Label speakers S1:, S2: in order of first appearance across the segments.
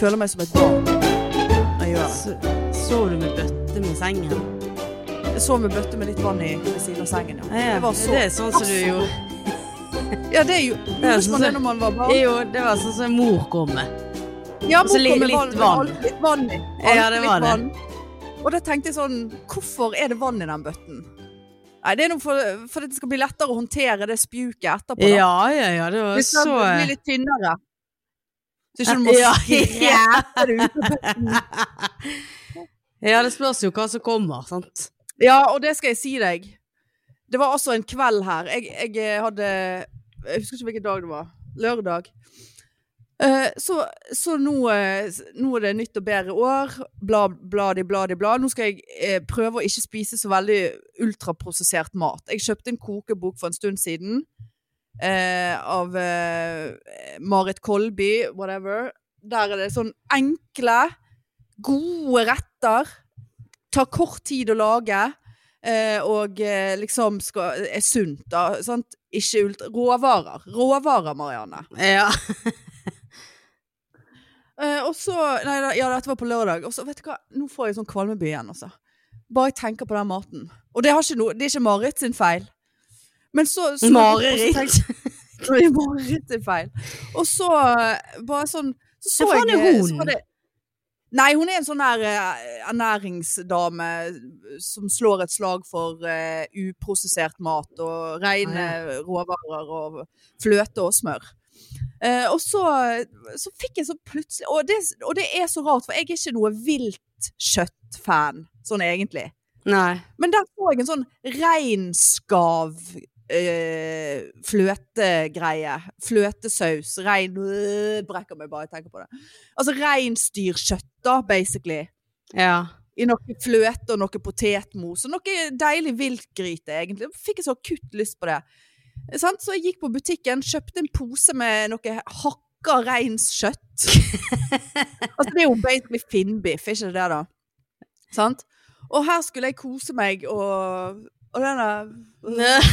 S1: føler meg som et barn. når Jeg gjør det.
S2: Så, sov du med bøtte med sengen?
S1: Jeg sov med bøtte med litt vann i ved siden av sengen, ja.
S2: Ja,
S1: Det var så
S2: det er sånn som du gjorde.
S1: Ja, det er jo
S2: er
S1: Husker man
S2: sånn-
S1: det når man var barn?
S2: Jo, det var sånn som mor kom med.
S1: Ja,
S2: Og så li-
S1: bortkommer
S2: litt
S1: vann,
S2: vann.
S1: alt Litt vann i.
S2: Ja,
S1: Alt
S2: det
S1: litt
S2: var det.
S1: vann. Og da tenkte jeg sånn Hvorfor er det vann i den bøtten? Nei, det er noe for, for at det skal bli lettere å håndtere det spjuket etterpå. da.
S2: Ja, ja, ja, det var
S1: Hvis
S2: så
S1: den blir litt tynnere. Så ikke du må
S2: Ja.
S1: skræpe det ut.
S2: Ja, det spørs jo hva som kommer, sant?
S1: Ja, og det skal jeg si deg. Det var altså en kveld her. Jeg, jeg eh, hadde Jeg husker ikke hvilken dag det var. Lørdag. Eh, så så nå, eh, s- nå er det nytt og bedre år. Bla, bla, di, bla, di, bla. Nå skal jeg eh, prøve å ikke spise så veldig ultraprosessert mat. Jeg kjøpte en kokebok for en stund siden eh, av eh, Marit Kolby, whatever. Der er det sånn enkle, gode retter. Tar kort tid å lage. Eh, og eh, liksom skal, er sunt, da. Sant? Ikke ultra... Råvarer. Råvarer, Marianne.
S2: Ja.
S1: Eh, og så Nei, da- ja, dette var på lørdag. Og så, vet du hva, nå får jeg sånn kvalmeby igjen, altså. Bare jeg tenker på den maten. Og det, har ikke noe, det er ikke Marit sin feil. Men så, så og så tenkte-
S2: Mareritt.
S1: Det er Marit sin feil. Og så eh, bare sånn Så så
S2: Hva faen
S1: jeg eh,
S2: er hun?
S1: så var det- Nei, hun er en sånn der eh, ernæringsdame eh, som slår et slag for eh, uprosessert mat og rene råvarer og fløte og smør. Eh, og så, så fikk jeg så plutselig og det, og det er så rart, for jeg er ikke noe viltkjøttfan, sånn egentlig.
S2: Nei.
S1: Men der får jeg en sånn reinskav eh, fløtegreie. Fløtesaus. Rein øh, Brekker meg bare jeg tenker på det. Altså reinsdyrkjøtt, da, basically.
S2: Ja.
S1: I noe fløte og noe potetmos og noe deilig viltgryte, egentlig. Fikk jeg så akutt lyst på det. Sant? Så jeg gikk på butikken, kjøpte en pose med noe hakka reinskjøtt. altså, det er jo basically finnbiff, er ikke det det, da? Sant? Og her skulle jeg kose meg, og, og den der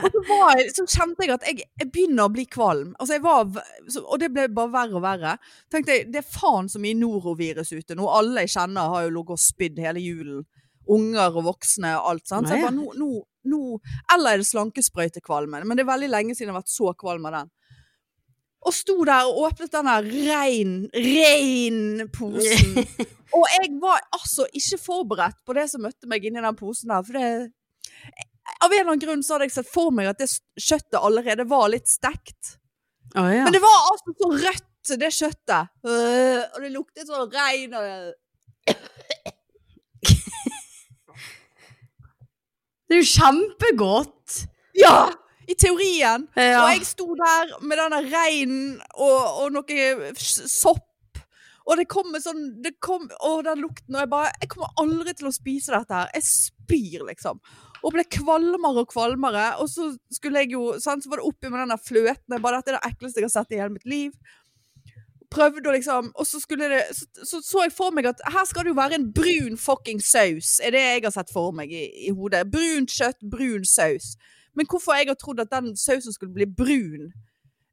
S1: og så, var jeg, så kjente jeg at jeg, jeg begynner å bli kvalm. Altså jeg var, v- så, og det ble bare verre og verre. Tenkte jeg, Det er faen så mye norovirus ute nå. Alle jeg kjenner har jo ligget og spydd hele julen. Unger og voksne og alt. Sant? Så jeg
S2: Nei.
S1: bare, nå, nå, nå, eller er det slankesprøytekvalmen? Men det er veldig lenge siden jeg har vært så kvalm av den. Og sto der og åpnet den der rein, rein posen. Og jeg var altså ikke forberedt på det som møtte meg inni den posen der. For det Av en eller annen grunn så hadde jeg sett for meg at det s- kjøttet allerede var litt stekt.
S2: Å ja.
S1: Men det var altså så rødt, det kjøttet. Øh, Og det luktet så
S2: sånn
S1: rein og
S2: Det er jo kjempegodt.
S1: Ja! I teorien.
S2: Ja.
S1: Og jeg sto der med denne reinen og, og noe s- sopp. Og det kom en sånn det kom, Og den lukten. Og jeg bare Jeg kommer aldri til å spise dette her. Jeg spyr, liksom. Og ble kvalmere og kvalmere. Og så skulle jeg jo sant, Så var det oppi med den der fløten. Jeg bare Dette er det ekleste jeg har sett i hele mitt liv. Prøvde å liksom Og så skulle det så, så så jeg for meg at her skal det jo være en brun fucking saus. Er det jeg har sett for meg i, i hodet. Brunt kjøtt, brun saus. Men hvorfor jeg har trodd at den sausen skulle bli brun,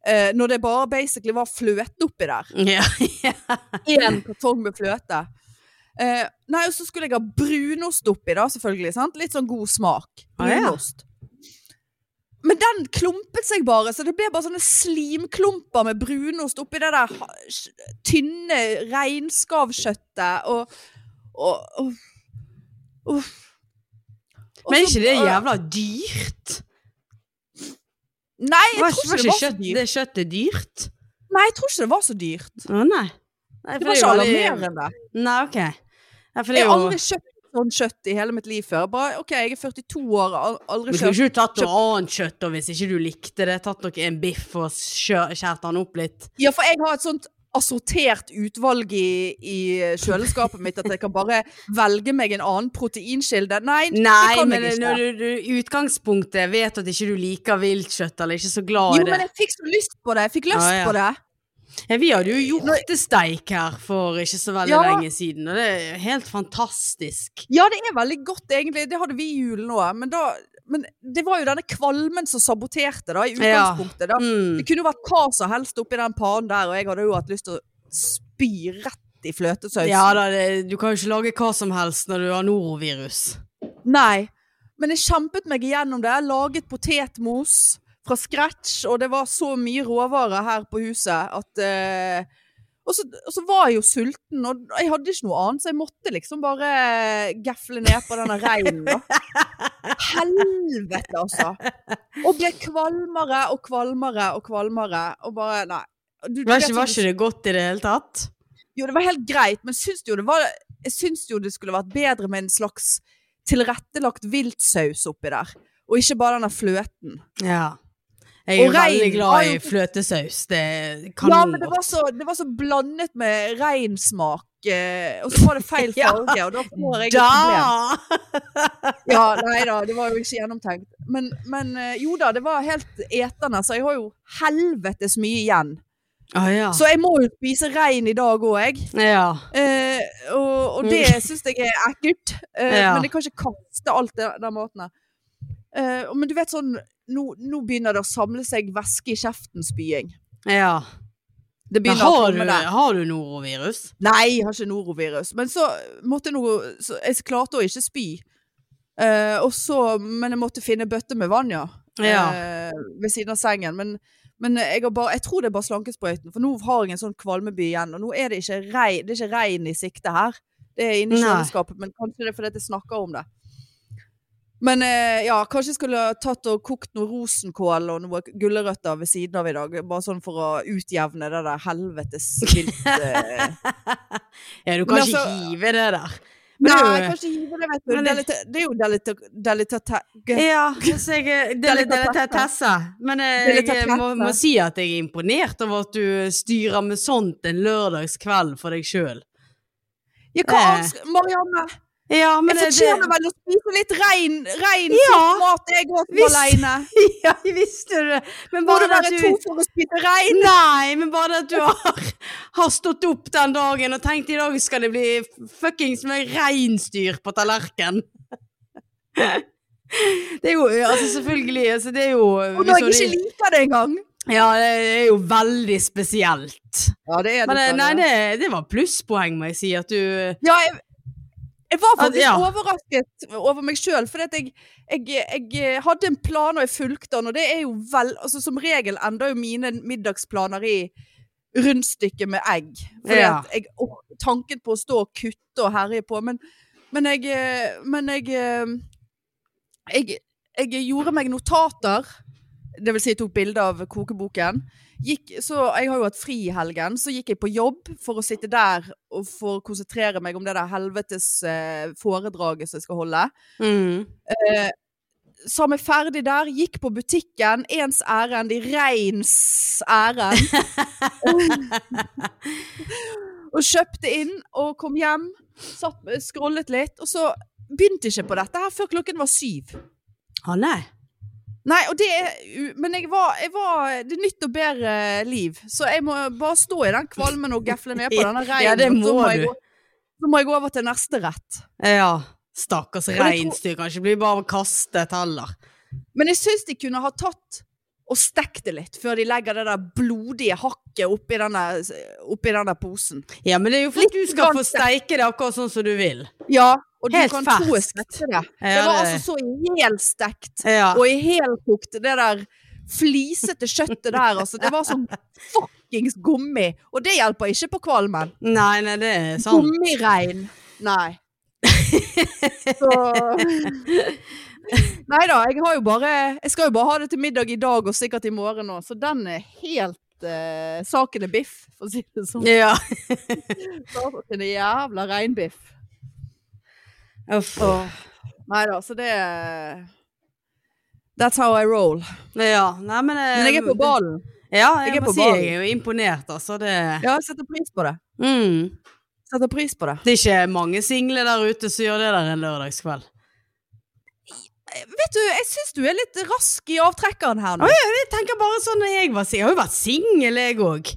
S1: eh, når det bare basically var fløte oppi der.
S2: Ja, ja.
S1: Én kartong med fløte. Eh, nei, og så skulle jeg ha brunost oppi, da, selvfølgelig. sant? Litt sånn god smak.
S2: Ah, ja.
S1: Brunost. Men den klumpet seg bare, så det ble bare sånne slimklumper med brunost oppi det der ha- sj- tynne reinskavkjøttet og, og, og Uff. Og
S2: Men er
S1: så-
S2: ikke det
S1: og-
S2: jævla dyrt?
S1: Nei, jeg tror
S2: Var ikke,
S1: ikke
S2: var
S1: det var
S2: ikke
S1: så
S2: kjøtt,
S1: dyrt.
S2: det kjøttet er dyrt?
S1: Nei, jeg tror ikke det var så dyrt.
S2: Å nei. nei
S1: Det var
S2: for er
S1: ikke
S2: jo veldig-
S1: alarmerende.
S2: Nei, ok. Ja, for det
S1: Jeg
S2: er
S1: har
S2: jo
S1: aldri kjøpt sånn kjøtt i hele mitt liv før. Bare, OK, jeg er 42 år og har
S2: Du
S1: aldri
S2: skulle
S1: kjøpt
S2: ikke tatt noe annet kjøtt og hvis ikke du likte det. Tatt dere en biff og skjø- skjært den opp litt.
S1: Ja, for jeg har et sånt assortert utvalg i, i kjøleskapet mitt at jeg kan bare velge meg en annen proteinkilde. Nei, det
S2: Nei,
S1: kan
S2: men
S1: jeg ikke.
S2: når du, du utgangspunktet vet at ikke du liker viltkjøtt eller ikke så glad
S1: Jo,
S2: i det Ah,
S1: men jeg fikk så lyst på det. Jeg fikk lyst
S2: Ja, ja.
S1: på det.
S2: ja, Vi hadde jo hjortesteik her for ikke så veldig
S1: Ja.
S2: lenge siden, og det er helt fantastisk.
S1: Ja, det er veldig godt, egentlig. Det hadde vi i julen òg, men da Men det var jo denne kvalmen som saboterte, da, i
S2: Ja.
S1: utgangspunktet. da.
S2: Mm.
S1: Det kunne jo vært hva som helst oppi den pannen der, og jeg hadde jo hatt lyst til å spy rett i fløtesaus.
S2: Ja da, det, du kan jo ikke lage hva som helst når du har norovirus.
S1: Nei. Men jeg kjempet meg igjennom det. Laget potetmos fra scratch, og det var så mye råvarer her på huset at eh, og, så, og så var jeg jo sulten, og jeg hadde ikke noe annet, så jeg måtte liksom bare gefle ned på denne reinen, da. Helvete, altså! Og ble kvalmere og kvalmere og kvalmere, og bare Nei. Du- du
S2: Var
S1: vet
S2: ikke,
S1: sånn-
S2: var ikke det godt i det hele tatt?
S1: jo, det var helt greit, men syns du jo det var Jeg syns jo det skulle vært bedre med en slags tilrettelagt viltsaus oppi der. Og ikke bare denne fløten.
S2: Ja. Jeg er
S1: Og
S2: veldig
S1: rein var
S2: glad i
S1: jo-
S2: fløtesaus. Det er
S1: ja,
S2: kanon
S1: men det var,
S2: godt.
S1: så, det var så blandet med reinsmak, eh, og så var det feil
S2: Ja.
S1: farge, og da får jeg et problem.
S2: Da!
S1: Ja, nei da, det var jo ikke gjennomtenkt. Men, men eh, jo da, det var helt etende, så jeg har jo helvetes mye igjen.
S2: Ah, ja.
S1: Så jeg må jo spise rein i dag òg, jeg.
S2: ja.
S1: Eh, og, og det syns jeg er ekkelt. Eh,
S2: Mm. Ja.
S1: Men jeg kan ikke kaste alt det, den maten her. Eh, og- men du vet sånn nå, nå begynner det å samle seg væske i kjeften-spying.
S2: ja.
S1: Det
S2: Men
S1: begynner å
S2: har,
S1: komme
S2: du,
S1: der.
S2: har du norovirus?
S1: Nei, jeg har ikke norovirus. Men så måtte jeg noe så Jeg klarte å ikke spy. Eh, og så, men jeg måtte finne bøtte med vann, ja.
S2: Ja.
S1: Eh, ved siden av sengen. Men, men jeg, har bare, jeg tror det er bare slankesprøyten, for nå har jeg en sånn kvalmeby igjen. Og nå er det ikke rein, det er ikke rein i sikte her. Det er inne i
S2: Nei.
S1: kjøleskapet, men kanskje det er fordi at jeg snakker om det. Men eh, ja, kanskje jeg skulle ha tatt og kokt noe rosenkål og noe gulrøtter ved siden av i dag. Bare sånn for å utjevne det der helvetes vilt eh.
S2: Ja,
S1: Men
S2: du kan ikke
S1: altså-
S2: hive det der. Men
S1: Nei,
S2: det er jo-
S1: kanskje hive det, vet du.
S2: Men det-
S1: Delita, det er jo delita- delitata-
S2: Ja, altså jeg er
S1: litt av
S2: delikatesse. Men eh,
S1: Det er litt av
S2: jeg må,
S1: tesse.
S2: må si at jeg er imponert over at du styrer med sånt en lørdagskveld for deg sjøl.
S1: Ja, hva
S2: Eh.
S1: annet? skal- Marianne,
S2: Ja, men
S1: jeg
S2: det-
S1: fortjener vel å spise litt rein, rein
S2: Ja.
S1: flott mat jeg går på
S2: Hvis-
S1: alene.
S2: Ja, jeg visste det. Men
S1: Må
S2: bare
S1: det
S2: det at
S1: være to
S2: du
S1: for å spise rein?
S2: Nei, men bare det at du har, har stått opp den dagen og tenkt i dag skal det bli fuckings med reinsdyr på tallerken. Det er jo Altså, selvfølgelig. Altså, det er jo
S1: Og når jeg
S2: hvis
S1: ikke
S2: du-
S1: liker det engang.
S2: Ja, det er jo veldig spesielt.
S1: Ja, det er
S2: Men eh, nei, det, det var plusspoeng, må jeg si. At du
S1: Ja, jeg, jeg var faktisk
S2: ja.
S1: overrasket over meg sjøl, for jeg, jeg, jeg hadde en plan, og jeg fulgte den, og det er jo vel altså, Som regel ender jo mine middagsplaner i rundstykke med egg. Fordi
S2: Ja.
S1: at jeg or- Tanken på å stå og kutte og herje på, men, men jeg eh, Men jeg, eh, jeg Jeg gjorde meg notater. Det vil si, jeg tok bilde av kokeboken. Gikk, så jeg har jo hatt fri i helgen, så gikk jeg på jobb for å sitte der og for å konsentrere meg om det der helvetes eh, foredraget som jeg skal holde. Mm. Så var jeg ferdig der, gikk på butikken, ens ærend i reins ærend. og kjøpte inn og kom hjem, satt, scrollet litt, og så begynte jeg ikke på dette her før klokken var syv.
S2: Å nei.
S1: Nei, og det er u- Men jeg var, jeg var Det er nytt og bedre liv. Så jeg må bare stå i den kvalmen og gefle ned på denne reinen.
S2: Ja, det
S1: og så
S2: må
S1: jeg
S2: du.
S1: gå- Så må jeg gå over til neste rett.
S2: Ja. Stakkars
S1: det tror-
S2: reinsdyr kan ikke bli bare kastet heller.
S1: Men jeg syns de kunne ha tatt og stekt det litt før de legger det der blodige hakket oppi denne, oppi denne posen.
S2: Ja, men det er jo fordi du skal
S1: grann
S2: få steike det akkurat sånn som du vil.
S1: Ja, og du
S2: Helt
S1: kan
S2: ferskt.
S1: tro jeg stekte det. Det
S2: Ja,
S1: var
S2: det-
S1: altså så helstekt
S2: Ja.
S1: og helkokt, det der flisete kjøttet der, altså. Det var som fuckings gummi. Og det hjelper ikke på kvalmen.
S2: Nei, nei, det er sant.
S1: Gummiregn. Nei. Så Nei da, jeg har jo bare Jeg skal jo bare ha det til middag i dag og sikkert i morgen òg, så den er helt eh, Saken er biff, for å si det sånn.
S2: Ja.
S1: Saken er jævla reinbiff.
S2: Uff.
S1: Nei da, så det That's how I roll.
S2: Ja. Nei, men eh,
S1: Men jeg er på ballen.
S2: Ja, jeg,
S1: Jeg er
S2: må
S1: på
S2: si
S1: ballen.
S2: jeg er jo imponert, altså. Det,
S1: Ja, jeg setter pris på det.
S2: mm.
S1: Setter pris på det.
S2: det er ikke mange single der ute som gjør det der en lørdagskveld.
S1: Eh, Vet du, jeg syns du er litt rask i avtrekkeren her nå.
S2: Jeg tenker bare sånn når jeg var singel. Jeg har jo vært singel, jeg òg.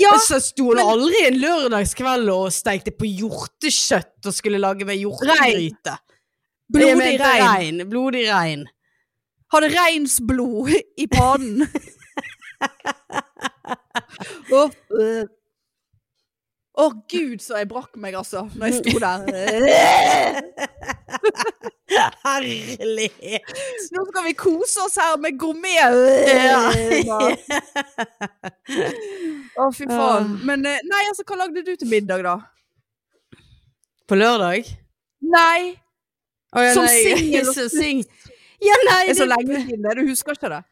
S1: Ja,
S2: Så sto hun aldri en lørdagskveld og steikte på hjortekjøtt og skulle lage meg hjortegryte. Jeg
S1: blodig
S2: mente
S1: rein.
S2: Blodig rein.
S1: Hadde reinsblod i pannen. Å, øh. Å, gud, så jeg brakk meg, altså, når jeg sto der.
S2: Herlighet!
S1: Nå skal vi kose oss her med gourmet. eh,
S2: Ja.
S1: Å, fy faen. Men eh, nei, altså, hva lagde du til middag, da?
S2: På lørdag?
S1: Nei,
S2: Å, ja,
S1: Som
S2: nei,
S1: singel.
S2: så sing- Ja, nei,
S1: det er så
S2: det-
S1: lenge siden det. Du husker ikke det?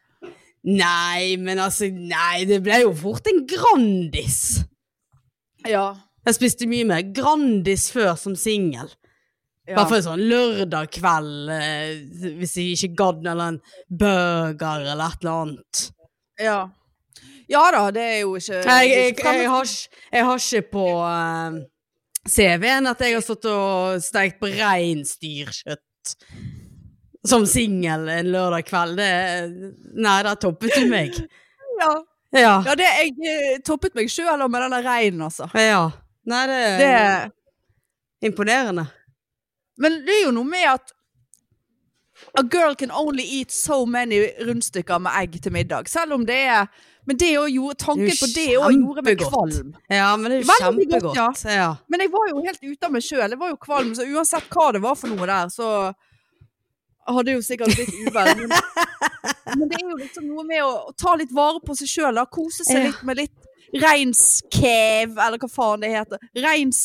S2: Nei, men altså, nei, det ble jo fort en Grandis.
S1: Ja.
S2: Jeg spiste mye mer Grandis før som singel. I
S1: ja.
S2: hvert fall sånn lørdag kveld, eh, hvis jeg ikke gadd eller en burger eller et eller annet.
S1: Ja. ja da, det er jo ikke
S2: Nei, jeg, jeg, jeg, har, ikke- jeg har ikke på eh, CV-en at jeg har stått og steikt på reinsdyrkjøtt som singel en lørdag kveld. Det, nei, der toppet du meg.
S1: ja.
S2: Ja.
S1: ja, det jeg eh, toppet meg sjøl med den der reinen, altså.
S2: ja. Nei, det er
S1: Det,
S2: imponerende.
S1: men det er jo noe med at A girl can only eat so many rundstykker med egg til middag. Selv om det er Men det òg gjorde
S2: Det
S1: Tanken
S2: er jo
S1: på det òg gjorde meg
S2: kjempegodt.
S1: kvalm.
S2: Ja, men det er jo
S1: Veldig godt,
S2: kjempegodt. ja.
S1: Men jeg var jo helt ute av meg sjøl. Jeg var jo kvalm, så uansett hva det var for noe der, så hadde jeg jo sikkert blitt uvær. Men, men det er jo liksom noe med å, å ta litt vare på seg sjøl, da. Kose seg
S2: Ja.
S1: litt med litt reinskev, eller hva faen det heter. Reins,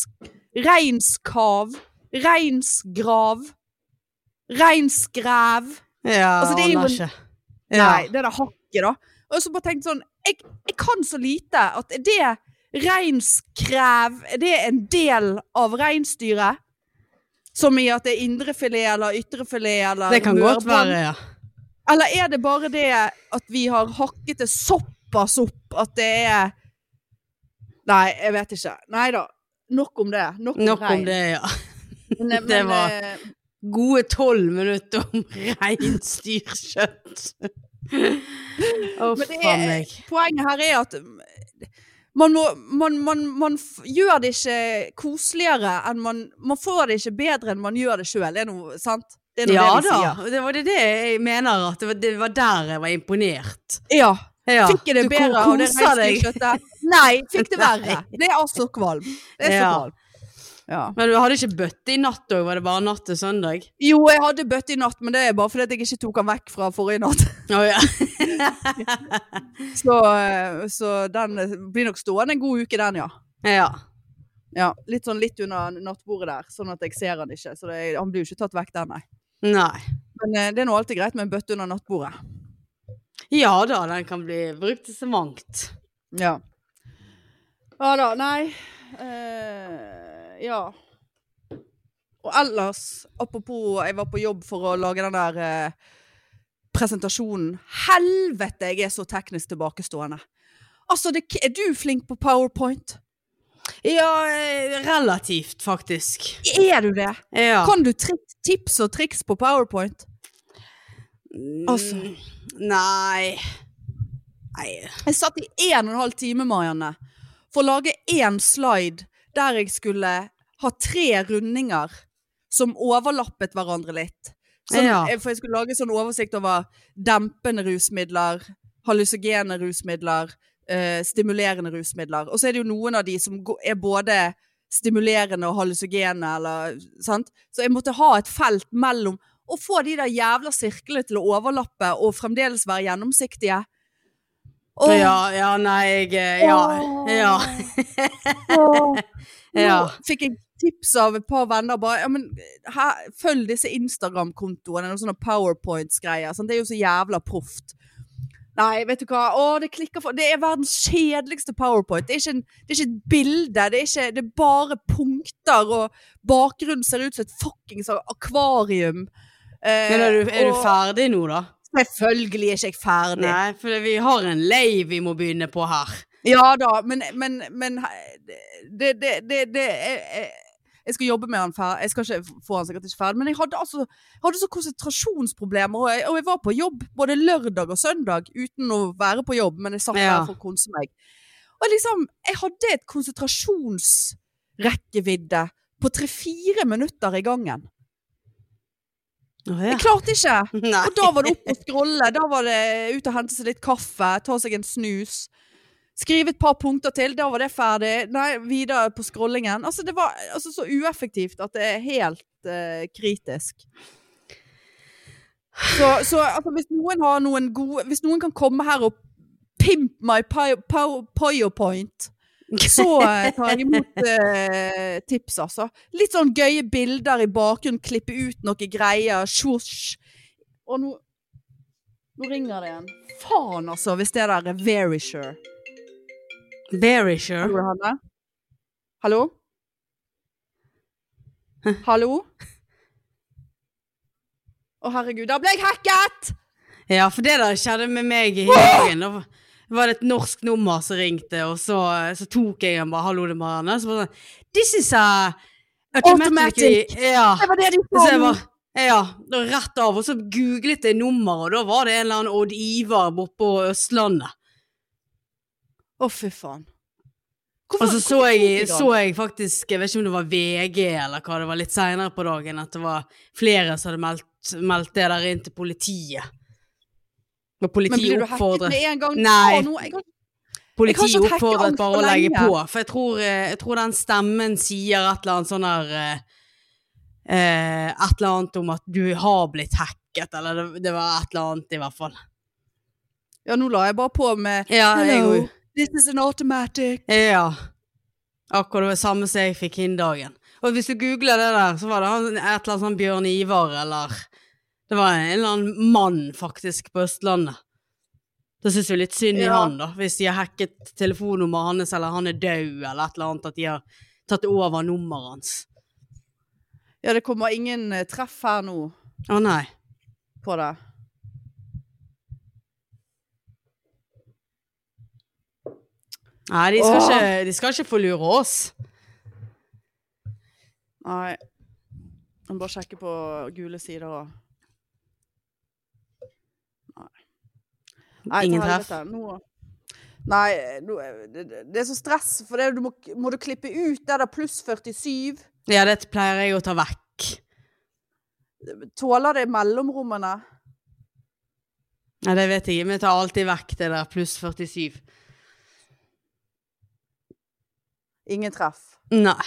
S1: reinskav. Reinsgrav. Reinskrev.
S2: Ja,
S1: Altså, det er jo
S2: aner
S1: en-
S2: ikke.
S1: Nei, det der hakket, da. Og så bare tenkte sånn jeg, jeg kan så lite at er det reinskrev Er det en del av reinsdyret? Som i at det er indrefilet eller ytrefilet eller
S2: Det kan godt
S1: mørbånd?
S2: være, ja.
S1: Eller er det bare det at vi har hakket det såpass opp at det er Nei, jeg vet ikke. Nei da. Nok om det. Nok om,
S2: Nok om
S1: rein.
S2: det, ja.
S1: Men, men,
S2: Det var-
S1: eh,
S2: Gode tolv minutter om reinsdyrkjøtt.
S1: Men
S2: Å,
S1: det er-
S2: faen meg.
S1: poenget her er at mm, man, må, man, man, man f- gjør det ikke koseligere enn man Man får det ikke bedre enn man gjør det sjøl, er noe sant? Det er noe
S2: Ja
S1: det vi
S2: da,
S1: sier.
S2: det var det, det jeg mener, at det var, det var der jeg var imponert.
S1: Ja.
S2: Ja,
S1: Fikk jeg det
S2: du
S1: bedre
S2: ko-
S1: av det
S2: koser deg.
S1: reinsdyrkjøttet? Nei, fikk det
S2: Nei.
S1: verre. Det er altså kvalm. Det er
S2: Ja.
S1: så kvalm. Ja.
S2: Men du hadde ikke bøtte i natt òg, var det bare natt til søndag?
S1: Jo, jeg hadde bøtte i natt, men det er bare fordi at jeg ikke tok den vekk fra forrige natt.
S2: Å ja.
S1: Så, eh, så den eh, blir nok stående en god uke, den, ja.
S2: ja.
S1: ja. Litt sånn litt under nattbordet der, sånn at jeg ser han ikke. Så det, han blir jo ikke tatt vekk, den, nei.
S2: Nei.
S1: Men eh, det er nå alltid greit med en bøtte under nattbordet.
S2: Ja da, den kan bli brukt til så mangt.
S1: Ja. Ja da, nei eh, Ja. Og ellers, apropos jeg var på jobb for å lage den der eh, presentasjonen Helvete, jeg er så teknisk tilbakestående. Altså, det, er du flink på powerpoint?
S2: Ja, eh, relativt, faktisk.
S1: Er du det?
S2: Ja.
S1: Kan du tri tips og triks på powerpoint? Altså.
S2: Mm, Nei. Nei.
S1: Jeg satt i en og en halv time, Marianne, for å lage én slide der jeg skulle ha tre rundinger som overlappet hverandre litt. Sånn,
S2: Ja.
S1: eh, For jeg skulle lage sånn oversikt over dempende rusmidler, hallusogene rusmidler, eh, stimulerende rusmidler. Og så er det jo noen av de som gå- er både stimulerende og hallusogene, eller sant? Så jeg måtte ha et felt mellom å få de der jævla sirklene til å overlappe og fremdeles være gjennomsiktige. Åh,
S2: Ja, ja, nei, jeg eh, Ja.
S1: Åh.
S2: ja.
S1: Åh.
S2: Ja.
S1: Nå fikk jeg tips av et par venner bare, ja, men eh, her, følg disse Instagram-kontoene, noen sånne powerpoints-greier, sånn, det er jo så jævla proft. Nei, vet du hva, Åh, det klikker for, det er verdens kjedeligste powerpoint, det er ikke, en, det er ikke et bilde, det er, ikke, det er bare punkter, og bakgrunnen ser ut som et fucking sånn akvarium. Eh,
S2: Men er du, er du
S1: og-
S2: ferdig nå, da?
S1: Selvfølgelig er ikke jeg ferdig.
S2: Nei, for vi har en lei vi må begynne på her.
S1: Ja da, men, men, men he- det, det, det, det jeg, jeg- jeg skal jobbe med han ferdig. Jeg skal ikke få han sikkert ikke ferdig, men jeg hadde, altså, jeg hadde så konsentrasjonsproblemer. Og jeg, og jeg var på jobb både lørdag og søndag uten å være på jobb, men jeg satt
S2: Ja.
S1: der for å konse meg. Og liksom, jeg hadde et konsentrasjonsrekkevidde på tre-fire minutter i gangen.
S2: Å,
S1: Jeg klarte ikke!
S2: Nei.
S1: Og da var det opp og scrolle. Da var det ut og hente seg litt kaffe, ta seg en snus. Skrive et par punkter til, da var det ferdig. Nei, videre på scrollingen. Altså, det var altså, så ueffektivt at det er helt eh, kritisk. Så, så altså, hvis noen har noen gode Hvis noen kan komme her og pimp my pi- pow- powerpoint, så eh, tar jeg imot eh, tips, altså. Litt sånn gøye bilder i bakgrunnen, klippe ut noe greier, sjosj. Og nå Nå ringer det igjen. Faen, altså, hvis det der er very sure.
S2: Berisher.
S1: Tror du han er? Hallo? Hallo? Å, herregud, da ble jeg hacket!
S2: Ja, for det der skjedde med meg i helgen. Da var det et norsk nummer som ringte, og så, så tok jeg den bare 'hallo, det er Marianne'. Så bare sånn 'This is a automatically- Ja.
S1: Det var det de
S2: Så
S1: sa
S2: Ah, jeg
S1: nå.
S2: bare ja, da rett av, og så googlet jeg nummeret, og da var det en eller annen Odd Ivar borte på Østlandet.
S1: Å, fy faen.
S2: Og Altså, så så jeg,
S1: hvorfor-
S2: så jeg faktisk, jeg vet ikke om det var VG eller hva, det var litt senere på dagen, at det var flere som hadde meldt, meldt det der inn til politiet. Og
S1: Men blir
S2: politiet
S1: du hacket
S2: oppfordret,
S1: med en gang?
S2: Nei.
S1: Å, nå, jeg har
S2: politiet
S1: hatt hackeangst for
S2: oppfordret bare å legge
S1: lenge.
S2: på, for jeg tror, eh, jeg tror den stemmen sier et eller annet sånn der, eh, eh, et eller annet om at du har blitt hacket, eller det, det var et eller annet i hvert fall.
S1: Ja, nå la jeg bare på med
S2: Ja, jeg
S1: Hello,
S2: går-
S1: this is an automatic.
S2: Ja. Akkurat det var samme som jeg fikk inn dagen. Og hvis du googler det der, så var det han, et eller annet sånn Bjørn Ivar, eller Det var en eller annen mann, faktisk, på Østlandet. Da syns vi litt synd i
S1: Ja.
S2: han, da. Hvis de har hacket telefonnummeret hans, eller han er død, eller et eller annet, at de har tatt over nummeret hans.
S1: Ja, det kommer ingen eh, treff her nå
S2: Å nei.
S1: på det.
S2: Nei, de skal,
S1: Åh.
S2: ikke, de skal ikke få lure oss.
S1: Nei. Jeg må bare sjekke på gule sider òg. Nei. Nei, til
S2: Ingen treff.
S1: helvete. Nå Nei, nå, eh, det, det- det er så stress, for det, du må, må du klippe ut det der pluss 47?
S2: Ja, det pleier jeg å ta vekk.
S1: Tåler det mellomrommene?
S2: Nei, det vet jeg ikke, men jeg tar alltid vekk det der pluss 47.
S1: Ingen treff.
S2: Nei.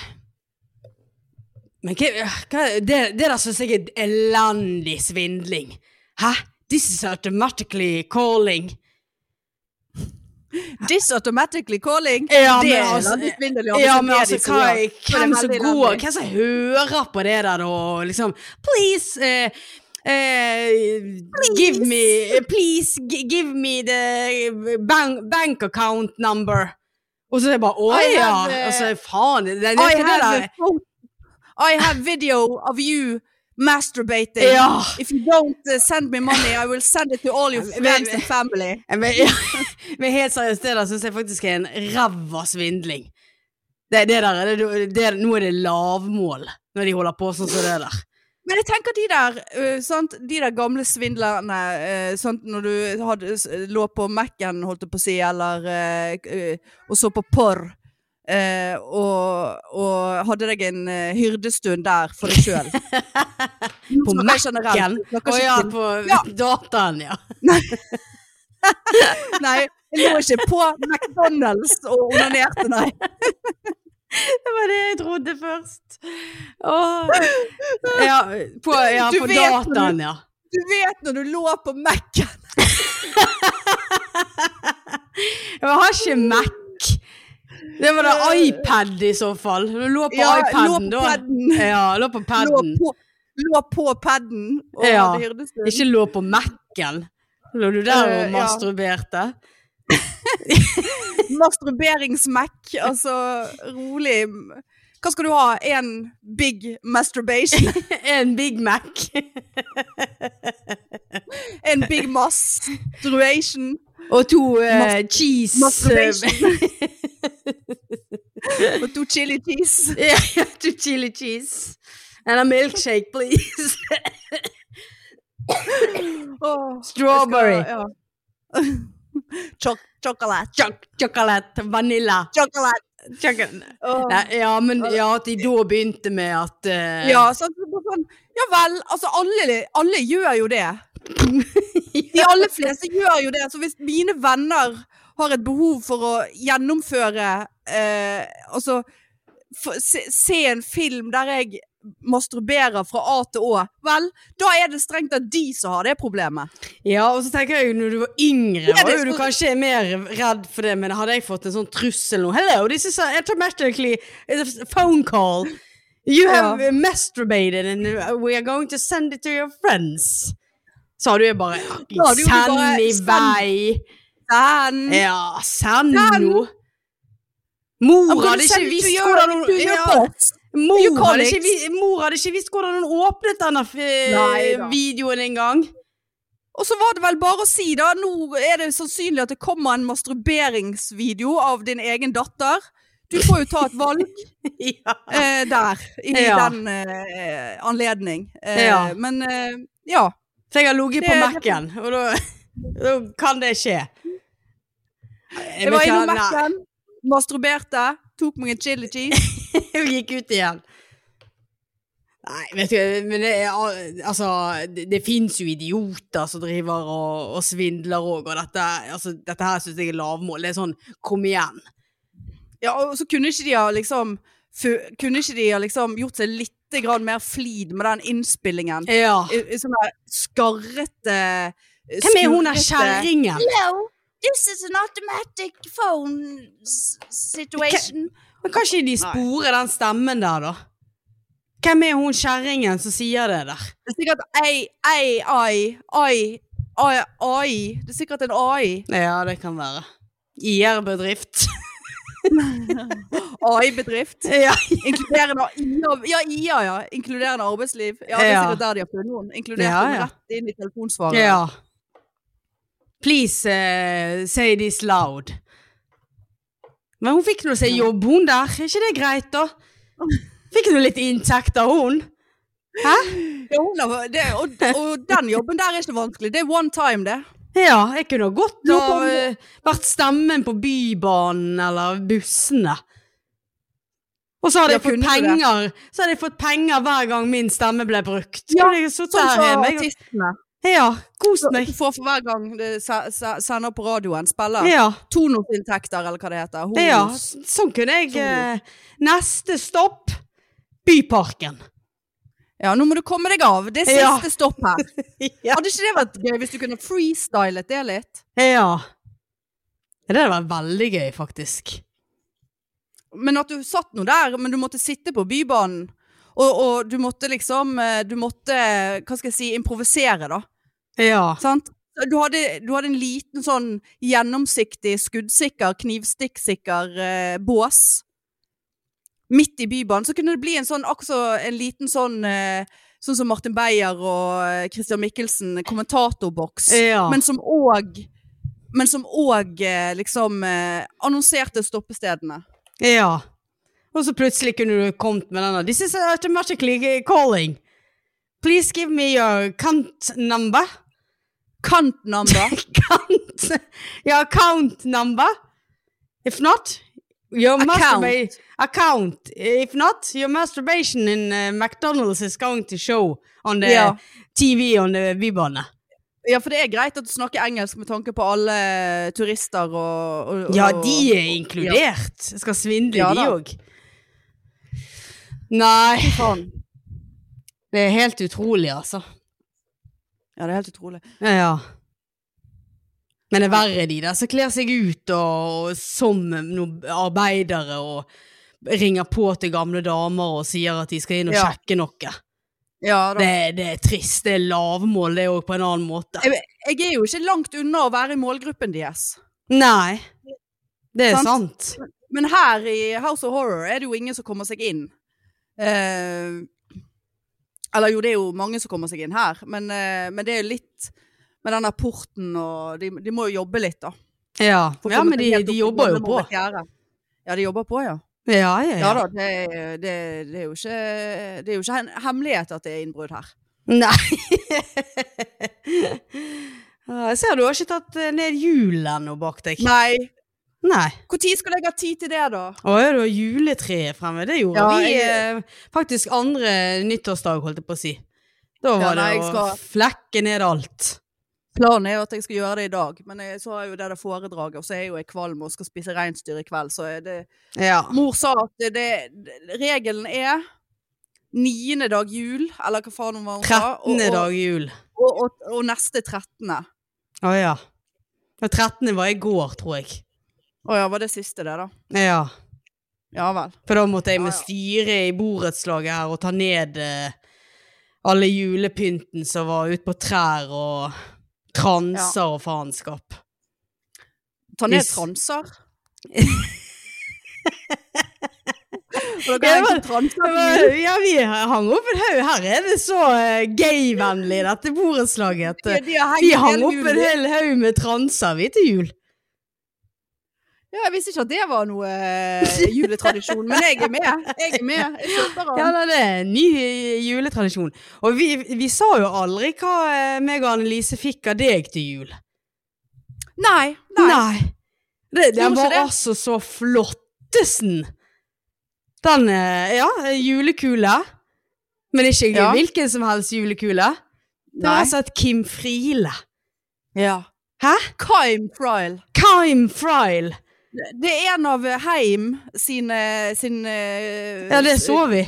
S2: Men hva, hva Det, det der syns jeg er elendig svindling. Hæ? This is automatically calling.
S1: This automatically calling!
S2: Ja,
S1: det
S2: men
S1: er
S2: altså-
S1: veldig svindelig,
S2: Ja,
S1: det
S2: men
S1: er
S2: altså,
S1: det de
S2: hva,
S1: sier. Det er
S2: hvem som
S1: veldig
S2: går
S1: elendig.
S2: Hvem som hører på det der, da? Liksom Please, eh, eh, give me Please, gi- give me the bank, bank account number. Og så er det bare Å
S1: I
S2: ja!
S1: have, eh,
S2: Altså, faen. Det, det, det,
S1: I
S2: det
S1: have,
S2: der.
S1: a photo- I have video of you masturbating.
S2: Ja.
S1: If you don't uh, send me money, I will send it to all your
S2: Men-
S1: friends and family.
S2: Ja, Men, ja, men helt seriøst, det der syns jeg faktisk er en ræva svindling. Det, det der, er det, det, nå er det lavmål, når de holder på sånn som det der.
S1: Men jeg tenker de der, øh, sant? De der gamle svindlerne øh, sant? Når du hadde, s- lå på Mac-en, holdt jeg på å si, eller øh, øh, Og så på porr. øh, og, og hadde deg en øh, hyrdestund der for deg sjøl.
S2: På Mac-en. Å ja, på
S1: Ja.
S2: dataen, ja.
S1: Nei, jeg lå ikke på McDonald's og onanerte, nei.
S2: Det var det jeg trodde først. Åh. Ja, på, ja,
S1: Du vet når
S2: på
S1: du-
S2: dataen, ja.
S1: Du vet når du lå på Mac-en
S2: Jeg har ikke Mac. Det var da iPad i så fall. Du lå på
S1: Eh. Ja, lå
S2: iPaden
S1: på
S2: da.
S1: padden.
S2: Ja, lå på
S1: lå
S2: paden.
S1: på, lå på padden og
S2: Ja.
S1: hadde hyrdestund.
S2: Ikke lå på Mac-en. Lå du der
S1: Eh,
S2: og
S1: ja.
S2: masturberte?
S1: Masturberingsmac, altså rolig Hva skal du ha? En big masturbation?
S2: En Big Mac.
S1: En big masturbation?
S2: Og to eh, cheese
S1: Masturbation. Og to chili cheese?
S2: Ja, ja, to chili cheese. And a milkshake, please.
S1: Åh,
S2: Strawberry.
S1: jeg skal- ja. Choc- Chocolate.
S2: Choc chocolate. Vanilla.
S1: Chocolate.
S2: Kjøkken.
S1: Åh.
S2: Nei, ja, men ja, at de da begynte med at eh,
S1: Ja, sant? Så bare sånn, ja vel, altså alle, alle gjør jo det. De aller fleste gjør jo det. Så hvis mine venner har et behov for å gjennomføre eh, Altså f- se, se en film der jeg masturberer fra A til Å, vel, da er det strengt tatt de som har det problemet.
S2: Ja, og så tenker jeg jo når du var yngre,
S1: Ja, det
S2: var jo du
S1: skulle-
S2: kanskje mer redd for det, men hadde jeg fått en sånn trussel nå Hello, this is a automatically it's a phone call. You have
S1: Ja.
S2: masturbated and we are going to send it to your friends. Så hadde jeg bare
S1: Da hadde jo du
S2: Send
S1: bare-
S2: i
S1: send-
S2: vei.
S1: Den
S2: Ja, send
S1: Send.
S2: nå. Mor
S1: I'm gonna
S2: hadde ikke
S1: send it to
S2: visst
S1: your-
S2: hvordan
S1: to
S2: hun
S1: your
S2: ja,
S1: boss. your
S2: mor, hadde ikke,
S1: colleagues.
S2: vi- mor hadde ikke visst hvordan hun åpnet denne eh,
S1: Neida.
S2: videoen engang.
S1: Og så var det vel bare å si, da. Nå er det sannsynlig at det kommer en masturberingsvideo av din egen datter. Du får jo ta et valg
S2: ja.
S1: eh, der, i
S2: Ja.
S1: den eh, anledning. Eh,
S2: Ja.
S1: Men eh, ja.
S2: For jeg har ligget på
S1: Det-
S2: Mac-en, og da, da kan det skje. Jeg
S1: Jeg var
S2: vet
S1: innom
S2: ikke, nei,
S1: Mac-en, masturberte, tok meg en chili cheese.
S2: Jeg gikk ut igjen. Nei, vet du, men det er al- Altså, det, det fins jo idioter som driver og, og svindler òg, og dette, altså, dette her syns jeg er lavmål. Det er sånn kom igjen.
S1: Ja, og så kunne ikke de ha liksom fu- Kunne ikke de ha liksom gjort seg litt grann mer flid med den innspillingen?
S2: Ja.
S1: I, i sånn der skarrete
S2: Hvem er hun der kjerringen?
S1: Hello, this is an automatic phone s- situation.
S2: Men kan ikke de spore den stemmen der, da? Hvem er hun kjerringen som sier det der?
S1: Det er sikkert AI, AI, AI, AI, AI. Det er sikkert en AI.
S2: Ja, det kan være. IR-bedrift.
S1: AI-bedrift.
S2: ja,
S1: Inkluderende IA, ja, IA, ja. Inkluderende arbeidsliv. Ja, det er
S2: Ja.
S1: sikkert der de har funnet noen. Inkludert
S2: Ja,
S1: dem
S2: ja.
S1: rett inn i telefonsvaret.
S2: Ja. Please eh, say this loud. Men hun fikk nå seg jobb, hun der. Er ikke det greit, da? Fikk nå litt inntekt av hun. Hæ?
S1: Ja, hun har- det, og, og den jobben der er ikke vanskelig. Det er one time, det.
S2: Ja, jeg kunne godt
S1: Jo,
S2: ha
S1: kom.
S2: eh, vært stemmen på Bybanen eller bussene. Og så hadde
S1: Ja,
S2: jeg fått
S1: kunne du det?
S2: penger Så hadde jeg fått penger hver gang min stemme ble brukt.
S1: Ja,
S2: Kunne jeg sittet her hjemme. sånn jeg-
S1: Sånn artistene.
S2: Ja, kost
S1: Du
S2: meg.
S1: får for hver gang det se- se- sender på radioen, spiller.
S2: Ja.
S1: Tonosinntekter, eller hva det heter. Honos.
S2: Ja, sånn kunne jeg eh, Neste stopp Byparken.
S1: Ja, nå må du komme deg av. Det er siste
S2: Ja.
S1: stopp her.
S2: Ja.
S1: Hadde ikke det vært gøy hvis du kunne freestylet det litt?
S2: ja. Det hadde vært veldig gøy, faktisk.
S1: Men at du satt nå der, men du måtte sitte på Bybanen. Og, og du måtte liksom eh, Du måtte, hva skal jeg si, improvisere, da.
S2: Ja.
S1: Sant? Du hadde, du hadde en liten sånn gjennomsiktig, skuddsikker, knivstikksikker eh, bås midt i bybanen. Så kunne det bli en sånn, også en liten sånn eh, Sånn som Martin Beyer og eh, Christian Michelsen, kommentatorboks.
S2: Ja.
S1: Men som òg men som òg eh, liksom eh, annonserte stoppestedene.
S2: ja. Og så plutselig kunne du kommet med denne. This is automatically calling. Please give me your count number.
S1: Kantnumber.
S2: Count. Ja, account number. If not, your
S1: Account.
S2: masturbation account. If not, your masturbation in uh, McDonald's is going to show on the
S1: Ja.
S2: TV on the Vibane.
S1: Ja, for det er greit at du snakker engelsk med tanke på alle eh, turister og, og
S2: Ja,
S1: og-
S2: de er inkludert. Jeg skal svindle
S1: Ja
S2: de
S1: da.
S2: òg. Nei,
S1: Faen.
S2: det er helt utrolig, altså.
S1: Ja, det er helt utrolig.
S2: Ja, ja. Men det er verre de der som kler seg ut og, og som noen arbeidere og ringer på til gamle damer og sier at de skal inn og
S1: Ja.
S2: sjekke noe.
S1: Ja, da.
S2: Det, det er trist. Det er lavmål, det òg, på en annen måte.
S1: Jeg, jeg er jo ikke langt unna å være i målgruppen deres.
S2: Nei. Det er
S1: Sant.
S2: sant.
S1: Men her i House of Horror er det jo ingen som kommer seg inn. Eh, eller jo, det er jo mange som kommer seg inn her, men, eh, men det er jo litt med den der porten og de, de må jo jobbe litt, da.
S2: Ja,
S1: For å
S2: ja
S1: komme
S2: men
S1: seg
S2: de,
S1: helt opp
S2: de
S1: i
S2: jobber jo
S1: gamle
S2: på.
S1: Morbet Gjerde. Ja, de jobber på, ja.
S2: Ja,
S1: Ja
S2: ja, ja.
S1: da, det, er- det, det er jo ikke, det er jo ikke en hemmelighet at det er innbrudd her.
S2: Nei. Ja, Jeg ser du har ikke tatt eh, ned hjulet ennå bak deg.
S1: Nei,
S2: Nei.
S1: Når skulle jeg ha tid til det, da?
S2: Å ja, det var juletreet fremme. Det gjorde
S1: Ja,
S2: vi
S1: jeg-
S2: eh, faktisk andre nyttårsdag, holdt jeg på å si. Da
S1: Ja,
S2: var
S1: nei, jeg
S2: det å
S1: skal-
S2: flekke ned alt.
S1: Planen er jo at jeg skal gjøre det i dag, men jeg, så har jo det der foredraget, og så er jeg jo jeg kvalm og skal spise reinsdyr i kveld, så er det
S2: Ja.
S1: Mor sa at det, det, regelen er niende dag jul, eller hva faen hun var hun sa, og,
S2: 13. dag jul.
S1: og, og, og, og neste trettende.
S2: Å ja. Ja, 13. var i går, tror jeg.
S1: Å ja, var det siste det, da?
S2: Ja.
S1: Ja vel.
S2: For da måtte jeg
S1: Ja,
S2: med
S1: ja.
S2: styret i borettslaget her og ta ned eh, alle julepynten som var ute på trær og transer og faenskap.
S1: Ta ned
S2: Hvis-
S1: transer.
S2: Ja,
S1: For
S2: det
S1: dere har
S2: var-
S1: ikke transer
S2: Det
S1: til
S2: var-
S1: jul.
S2: Ja, vi hang opp en haug. Her er det så eh, gay-vennlig, dette borettslaget. at,
S1: De,
S2: eh,
S1: de har
S2: Vi
S1: hengt
S2: hang
S1: hele
S2: opp en
S1: julen.
S2: hel haug med transer, vi, til jul.
S1: Ja, jeg visste ikke at det var noe eh, juletradisjon, men jeg er med. Jeg er med. Jeg kjøper
S2: Ja,
S1: den.
S2: nei, det er en ny eh, juletradisjon. Og vi, vi sa jo aldri hva eh, meg og Annelise fikk av deg til jul.
S1: Nei. Nei.
S2: Det,
S1: Gjorde
S2: den
S1: ikke
S2: var
S1: det?
S2: altså så flottesen. Den, eh, ja, eh, julekule. Men ikke
S1: Ja.
S2: hvilken som helst julekule. Det
S1: Nei.
S2: var altså et Kim Friele.
S1: Ja.
S2: Hæ?
S1: Kime trial.
S2: Kim Friele.
S1: Det er en av Heim sine, sine
S2: Ja, det så vi.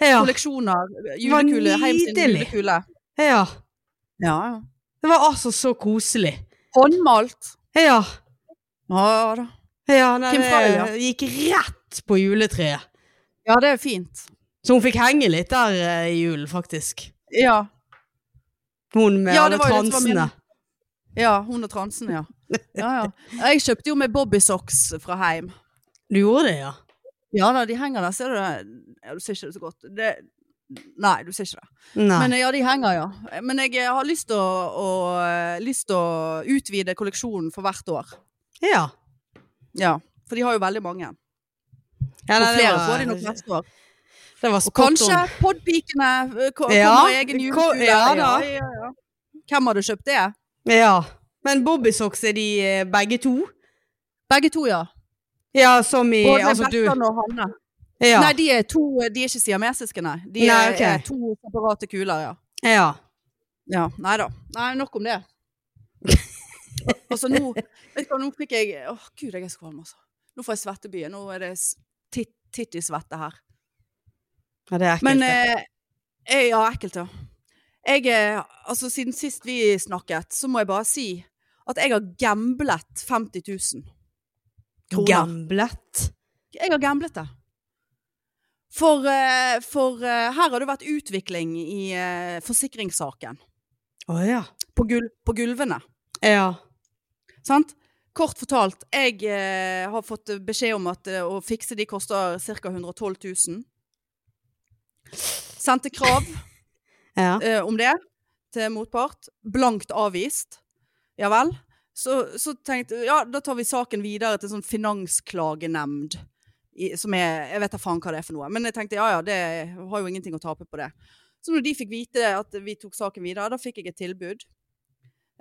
S2: Ja,
S1: kolleksjoner. Julekule. Heim sin
S2: nydelig.
S1: julekule.
S2: ja.
S1: Ja.
S2: Det var altså så koselig.
S1: Håndmalt.
S2: Ja.
S1: Ja da.
S2: Ja, nei,
S1: Kim Friele, ja.
S2: det gikk rett på juletreet.
S1: Ja, det er fint.
S2: Så hun fikk henge litt der eh, i julen, faktisk.
S1: Ja.
S2: Hun med
S1: Ja, det
S2: alle
S1: var jo det som var min-
S2: transene.
S1: Ja, hun og transen, ja. ja, ja. Jeg kjøpte jo med bobbysocks fra heim.
S2: Du gjorde det, ja?
S1: Ja da, de henger der, ser du det? Ja, du ser ikke det så godt. Det... Nei, du ser ikke det.
S2: Nei.
S1: Men ja, de henger, ja. Men jeg eh, har lyst til å, å, eh, lyst til å utvide kolleksjonen for hvert år.
S2: ja.
S1: Ja. For de har jo veldig mange.
S2: ja
S1: Og
S2: nei, det
S1: flere
S2: var-
S1: får de nok neste år.
S2: Det var
S1: Og
S2: spot
S1: kanskje
S2: on.
S1: podpikene eh, ko-
S2: Ja,
S1: kommer i egen
S2: ko-
S1: julekule.
S2: ja da.
S1: Ja, ja. Hvem hadde kjøpt det?
S2: Ja. Men bobbysocks er de eh, begge to?
S1: Begge to, ja.
S2: Ja, som i
S1: Både
S2: altså, du,
S1: Bettan og Hanne.
S2: ja,
S1: Nei, de er to eh, De er ikke siamesiske, nei. De
S2: Nei,
S1: er,
S2: ok.
S1: er to separate kuler, ja.
S2: ja.
S1: ja. Nei da. Nei, nok om det. altså, nå Vet du hva, nå fikk jeg Å, gud, jeg er så kvalm, altså. Nå får jeg svettebye. Nå er det s- titt- tittisvette her.
S2: ja. Det er ekkelt.
S1: Men
S2: det.
S1: eh, eh, Ja, ekkelt, ja. Jeg, eh, altså, siden sist vi snakket, så må jeg bare si at jeg har gamblet 50 000 kroner.
S2: Gamblet.
S1: Jeg har gamblet det. For, eh, for eh, her har det vært utvikling i eh, forsikringssaken.
S2: Å ja.
S1: På, gul på gulvene.
S2: Ja.
S1: Sant? Kort fortalt, jeg eh, har fått beskjed om at eh, å fikse de koster ca. 112 000. Sendte krav
S2: ja.
S1: eh, om det til motpart. Blankt avvist. Ja vel. Så, så tenkte jeg ja, da tar vi saken videre til sånn finansklagenemnd. I, som er Jeg vet da faen hva det er for noe. Men jeg tenkte ja ja, det har jo ingenting å tape på det. Så når de fikk vite at vi tok saken videre, da fikk jeg et tilbud.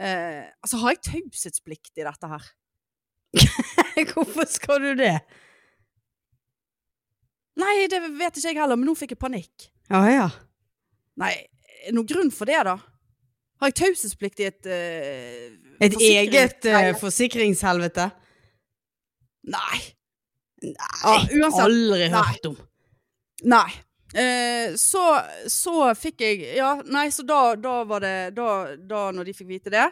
S1: Eh, altså, har jeg taushetsplikt i dette her?
S2: Hvorfor skal du det?
S1: Nei, det vet ikke jeg heller, men nå fikk jeg panikk.
S2: Å ja.
S1: Nei, er det noen grunn for det, da? Har jeg taushetsplikt i et eh,
S2: Et
S1: forsikrings-
S2: eget eh,
S1: Nei,
S2: forsikringshelvete?
S1: Nei.
S2: Ah,
S1: uansett.
S2: Aldri
S1: Nei.
S2: hørt om.
S1: Nei. Eh, så, så fikk jeg Ja, nei, så da, da var det da, da når de fikk vite det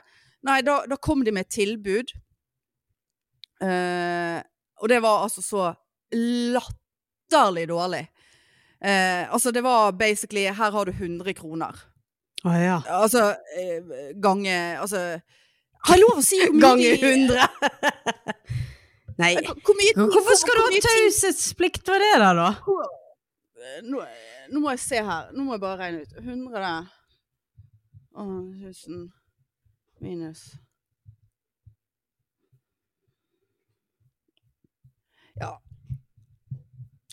S1: Nei, da, da kom de med et tilbud. Eh, og det var altså så latterlig dårlig. Eh, altså, det var basically Her har du 100 kroner.
S2: Å ja.
S1: Altså eh, gange Altså Har jeg lov å si hvor mye
S2: Ganger
S1: de-
S2: 100. Nei.
S1: Hvor mye
S2: Hvorfor skal du
S1: hvor
S2: ha
S1: mye ting-
S2: taushetsplikt for det der, da?
S1: Eh, nå, nå må jeg se her. Nå må jeg bare regne ut. 100 Å, 1000 minus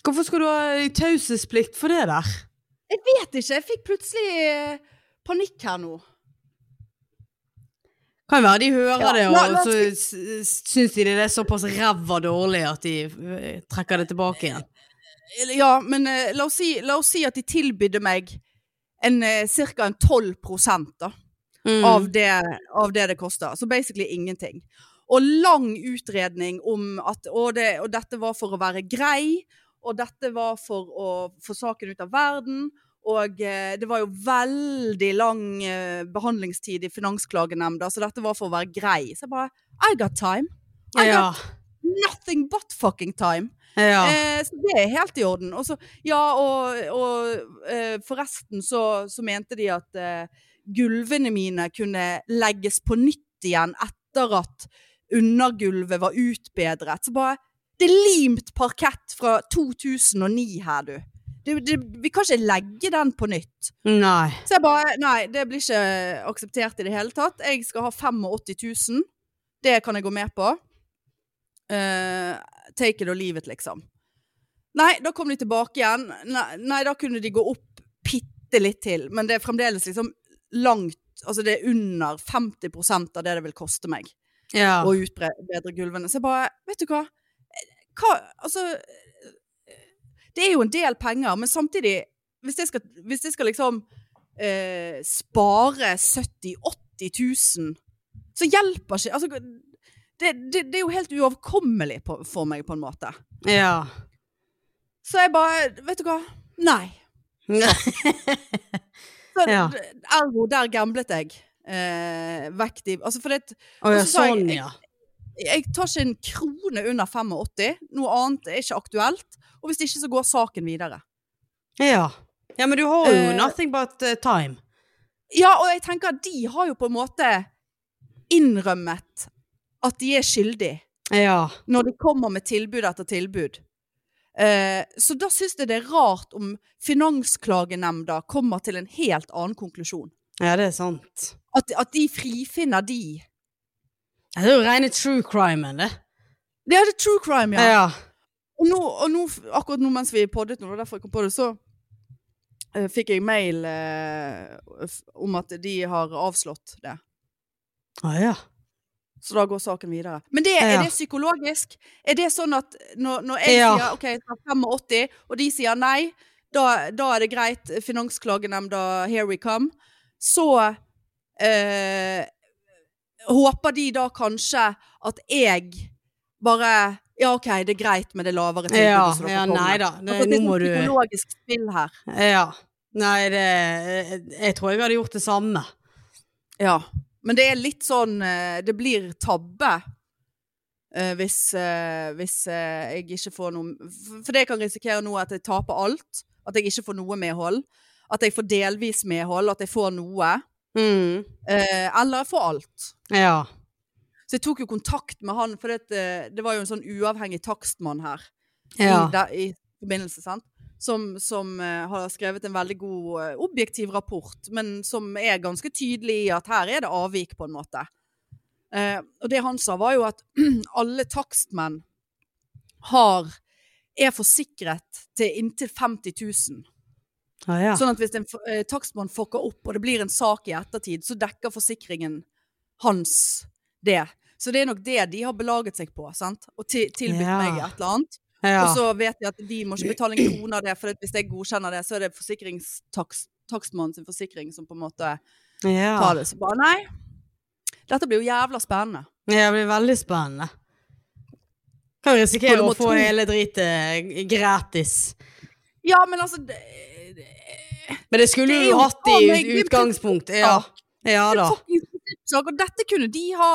S2: Hvorfor skal du ha taushetsplikt for det der?
S1: Jeg vet ikke. Jeg fikk plutselig eh, panikk her nå.
S2: Kan være de hører
S1: Ja,
S2: det,
S1: la-
S2: og
S1: la
S2: så s- s- syns de det er såpass ræva dårlig at de øh, trekker det tilbake igjen.
S1: Ja, men eh, la, oss si, la oss si at de tilbydde meg en, eh, cirka en 12 da.
S2: Mm.
S1: av, det, av det det koster. Så basically ingenting. Og lang utredning om at og, det, og dette var for å være grei, og dette var for å få saken ut av verden. Og eh, det var jo veldig lang eh, behandlingstid i Finansklagenemnda, så dette var for å være grei. Så jeg bare I got time. I
S2: Ja.
S1: got nothing but fucking time.
S2: ja.
S1: Eh, så det er helt i orden. Og så, ja, og, og eh, forresten så, så mente de at eh, gulvene mine kunne legges på nytt igjen etter at undergulvet var utbedret. Så bare Det er limt parkett fra 2009 her, du. Det, det, vi kan ikke legge den på nytt.
S2: Nei.
S1: Så jeg bare Nei, det blir ikke akseptert i det hele tatt. Jeg skal ha 85 000. Det kan jeg gå med på. Eh, take it or leave it, liksom. Nei, da kom de tilbake igjen. Nei, nei da kunne de gå opp bitte litt til. Men det er fremdeles liksom langt Altså det er under 50 av det det vil koste meg
S2: Ja.
S1: og utbedre gulvene. Så jeg bare Vet du hva? hva altså Det er jo en del penger, men samtidig Hvis jeg skal, hvis jeg skal liksom eh, spare 70 000-80 000, så hjelper ikke altså, det, det, det er jo helt uoverkommelig på, for meg, på en måte.
S2: ja.
S1: Så jeg bare Vet du hva? Nei. Så,
S2: Ja.
S1: Ergo, der gamblet jeg. Eh, vekk de Altså, for det
S2: Å ja,
S1: Og så sa jeg-
S2: sånn, ja.
S1: jeg tar ikke en krone under 85. Noe annet er ikke aktuelt. Og hvis ikke, så går saken videre.
S2: Ja. Ja, men du har jo
S1: Eh,
S2: nothing but eh, time.
S1: Ja, og jeg tenker at de har jo på en måte innrømmet at de er skyldige,
S2: Ja.
S1: når de kommer med tilbud etter tilbud. Eh, så da syns jeg det er rart om Finansklagenemnda kommer til en helt annen konklusjon.
S2: Ja, det er sant.
S1: At, at de frifinner de.
S2: Ja, Det er jo rene true crimen, det.
S1: Det er det true crime, ja.
S2: Ja.
S1: Og, nå, og nå, akkurat nå mens vi poddet nå, det var derfor jeg kom på det, så eh, fikk jeg mail eh, f- om at de har avslått det.
S2: Å Ah, ja.
S1: Så da går saken videre. Men det,
S2: Ja.
S1: er det psykologisk? Er det sånn at når, når jeg
S2: Ja.
S1: sier OK, jeg tar 85, og de sier nei, da, da er det greit, Finansklagenemnda, here we come, så eh, håper de da kanskje at jeg bare Ja, OK, det er greit med det lavere tilbudet
S2: Ja,
S1: som dere
S2: ja,
S1: kommer med.
S2: nei da. Det,
S1: Altså, det
S2: nå
S1: er
S2: må
S1: sånn
S2: du
S1: psykologisk spill her.
S2: Ja. Nei, det jeg, jeg tror jeg hadde gjort det samme.
S1: Ja. Men det er litt sånn eh, Det blir tabbe eh, hvis, eh, hvis eh, jeg ikke får noe f- For det jeg kan risikere nå, er at jeg taper alt. At jeg ikke får noe medhold. At jeg får delvis medhold. At jeg får noe.
S2: Mm.
S1: eh, Eller jeg får alt.
S2: Ja.
S1: Så jeg tok jo kontakt med han, for det, eh, det var jo en sånn uavhengig takstmann her.
S2: Ja.
S1: i, da- i forbindelse, sant? Som, som eh, har skrevet en veldig god eh, objektiv rapport, men som er ganske tydelig i at her er det avvik, på en måte. Eh, og det han sa, var jo at alle takstmenn har er forsikret til inntil 50 000.
S2: Å ja.
S1: Sånn at hvis en f- eh, takstmann fucker opp, og det blir en sak i ettertid, så dekker forsikringen hans det. Så det er nok det de har belaget seg på, sant? Og til, tilbudt
S2: Ja.
S1: meg et eller annet.
S2: Ja.
S1: Og så vet jeg at de må ikke betale en krone av det, for at hvis jeg godkjenner det, så er det forsikringstakstmannen sin forsikring som på en måte
S2: ja.
S1: tar det. Så bare nei. Dette blir jo jævla spennende.
S2: Ja, det blir veldig spennende. Kan
S1: Og
S2: risikere
S1: du
S2: å
S1: må
S2: få
S1: tro-
S2: hele dritet eh, gratis.
S1: Ja, men altså det, det,
S2: Men det skulle
S1: Det er
S2: du
S1: jo
S2: hatt i
S1: faen meg-
S2: ut- utgangspunkt. Ja. Ja da.
S1: fuckings prinsippsak, Og dette kunne de ha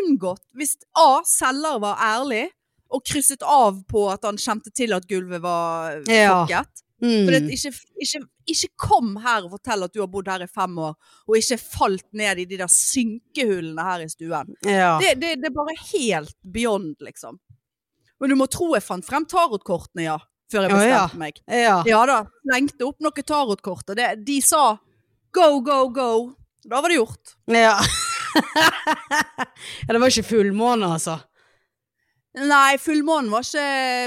S1: unngått hvis A. Selger var ærlig og krysset av på at han kjente til at gulvet var
S2: Ja.
S1: fokket. For at
S2: Mm.
S1: ikke, ikke, ikke kom her og fortell at du har bodd her i fem år, og ikke falt ned i de der synkehullene her i stuen.
S2: Ja.
S1: Det, det, det er bare helt beyond, liksom. Men du må tro jeg fant frem tarotkortene, ja, før jeg
S2: Ja, ja.
S1: bestemte meg.
S2: Ja.
S1: Ja da, slengte opp noen tarotkort, og det, de sa go, go, go. Da var det gjort.
S2: Ja. ja, det var ikke fullmåne, altså.
S1: Nei, fullmånen var ikke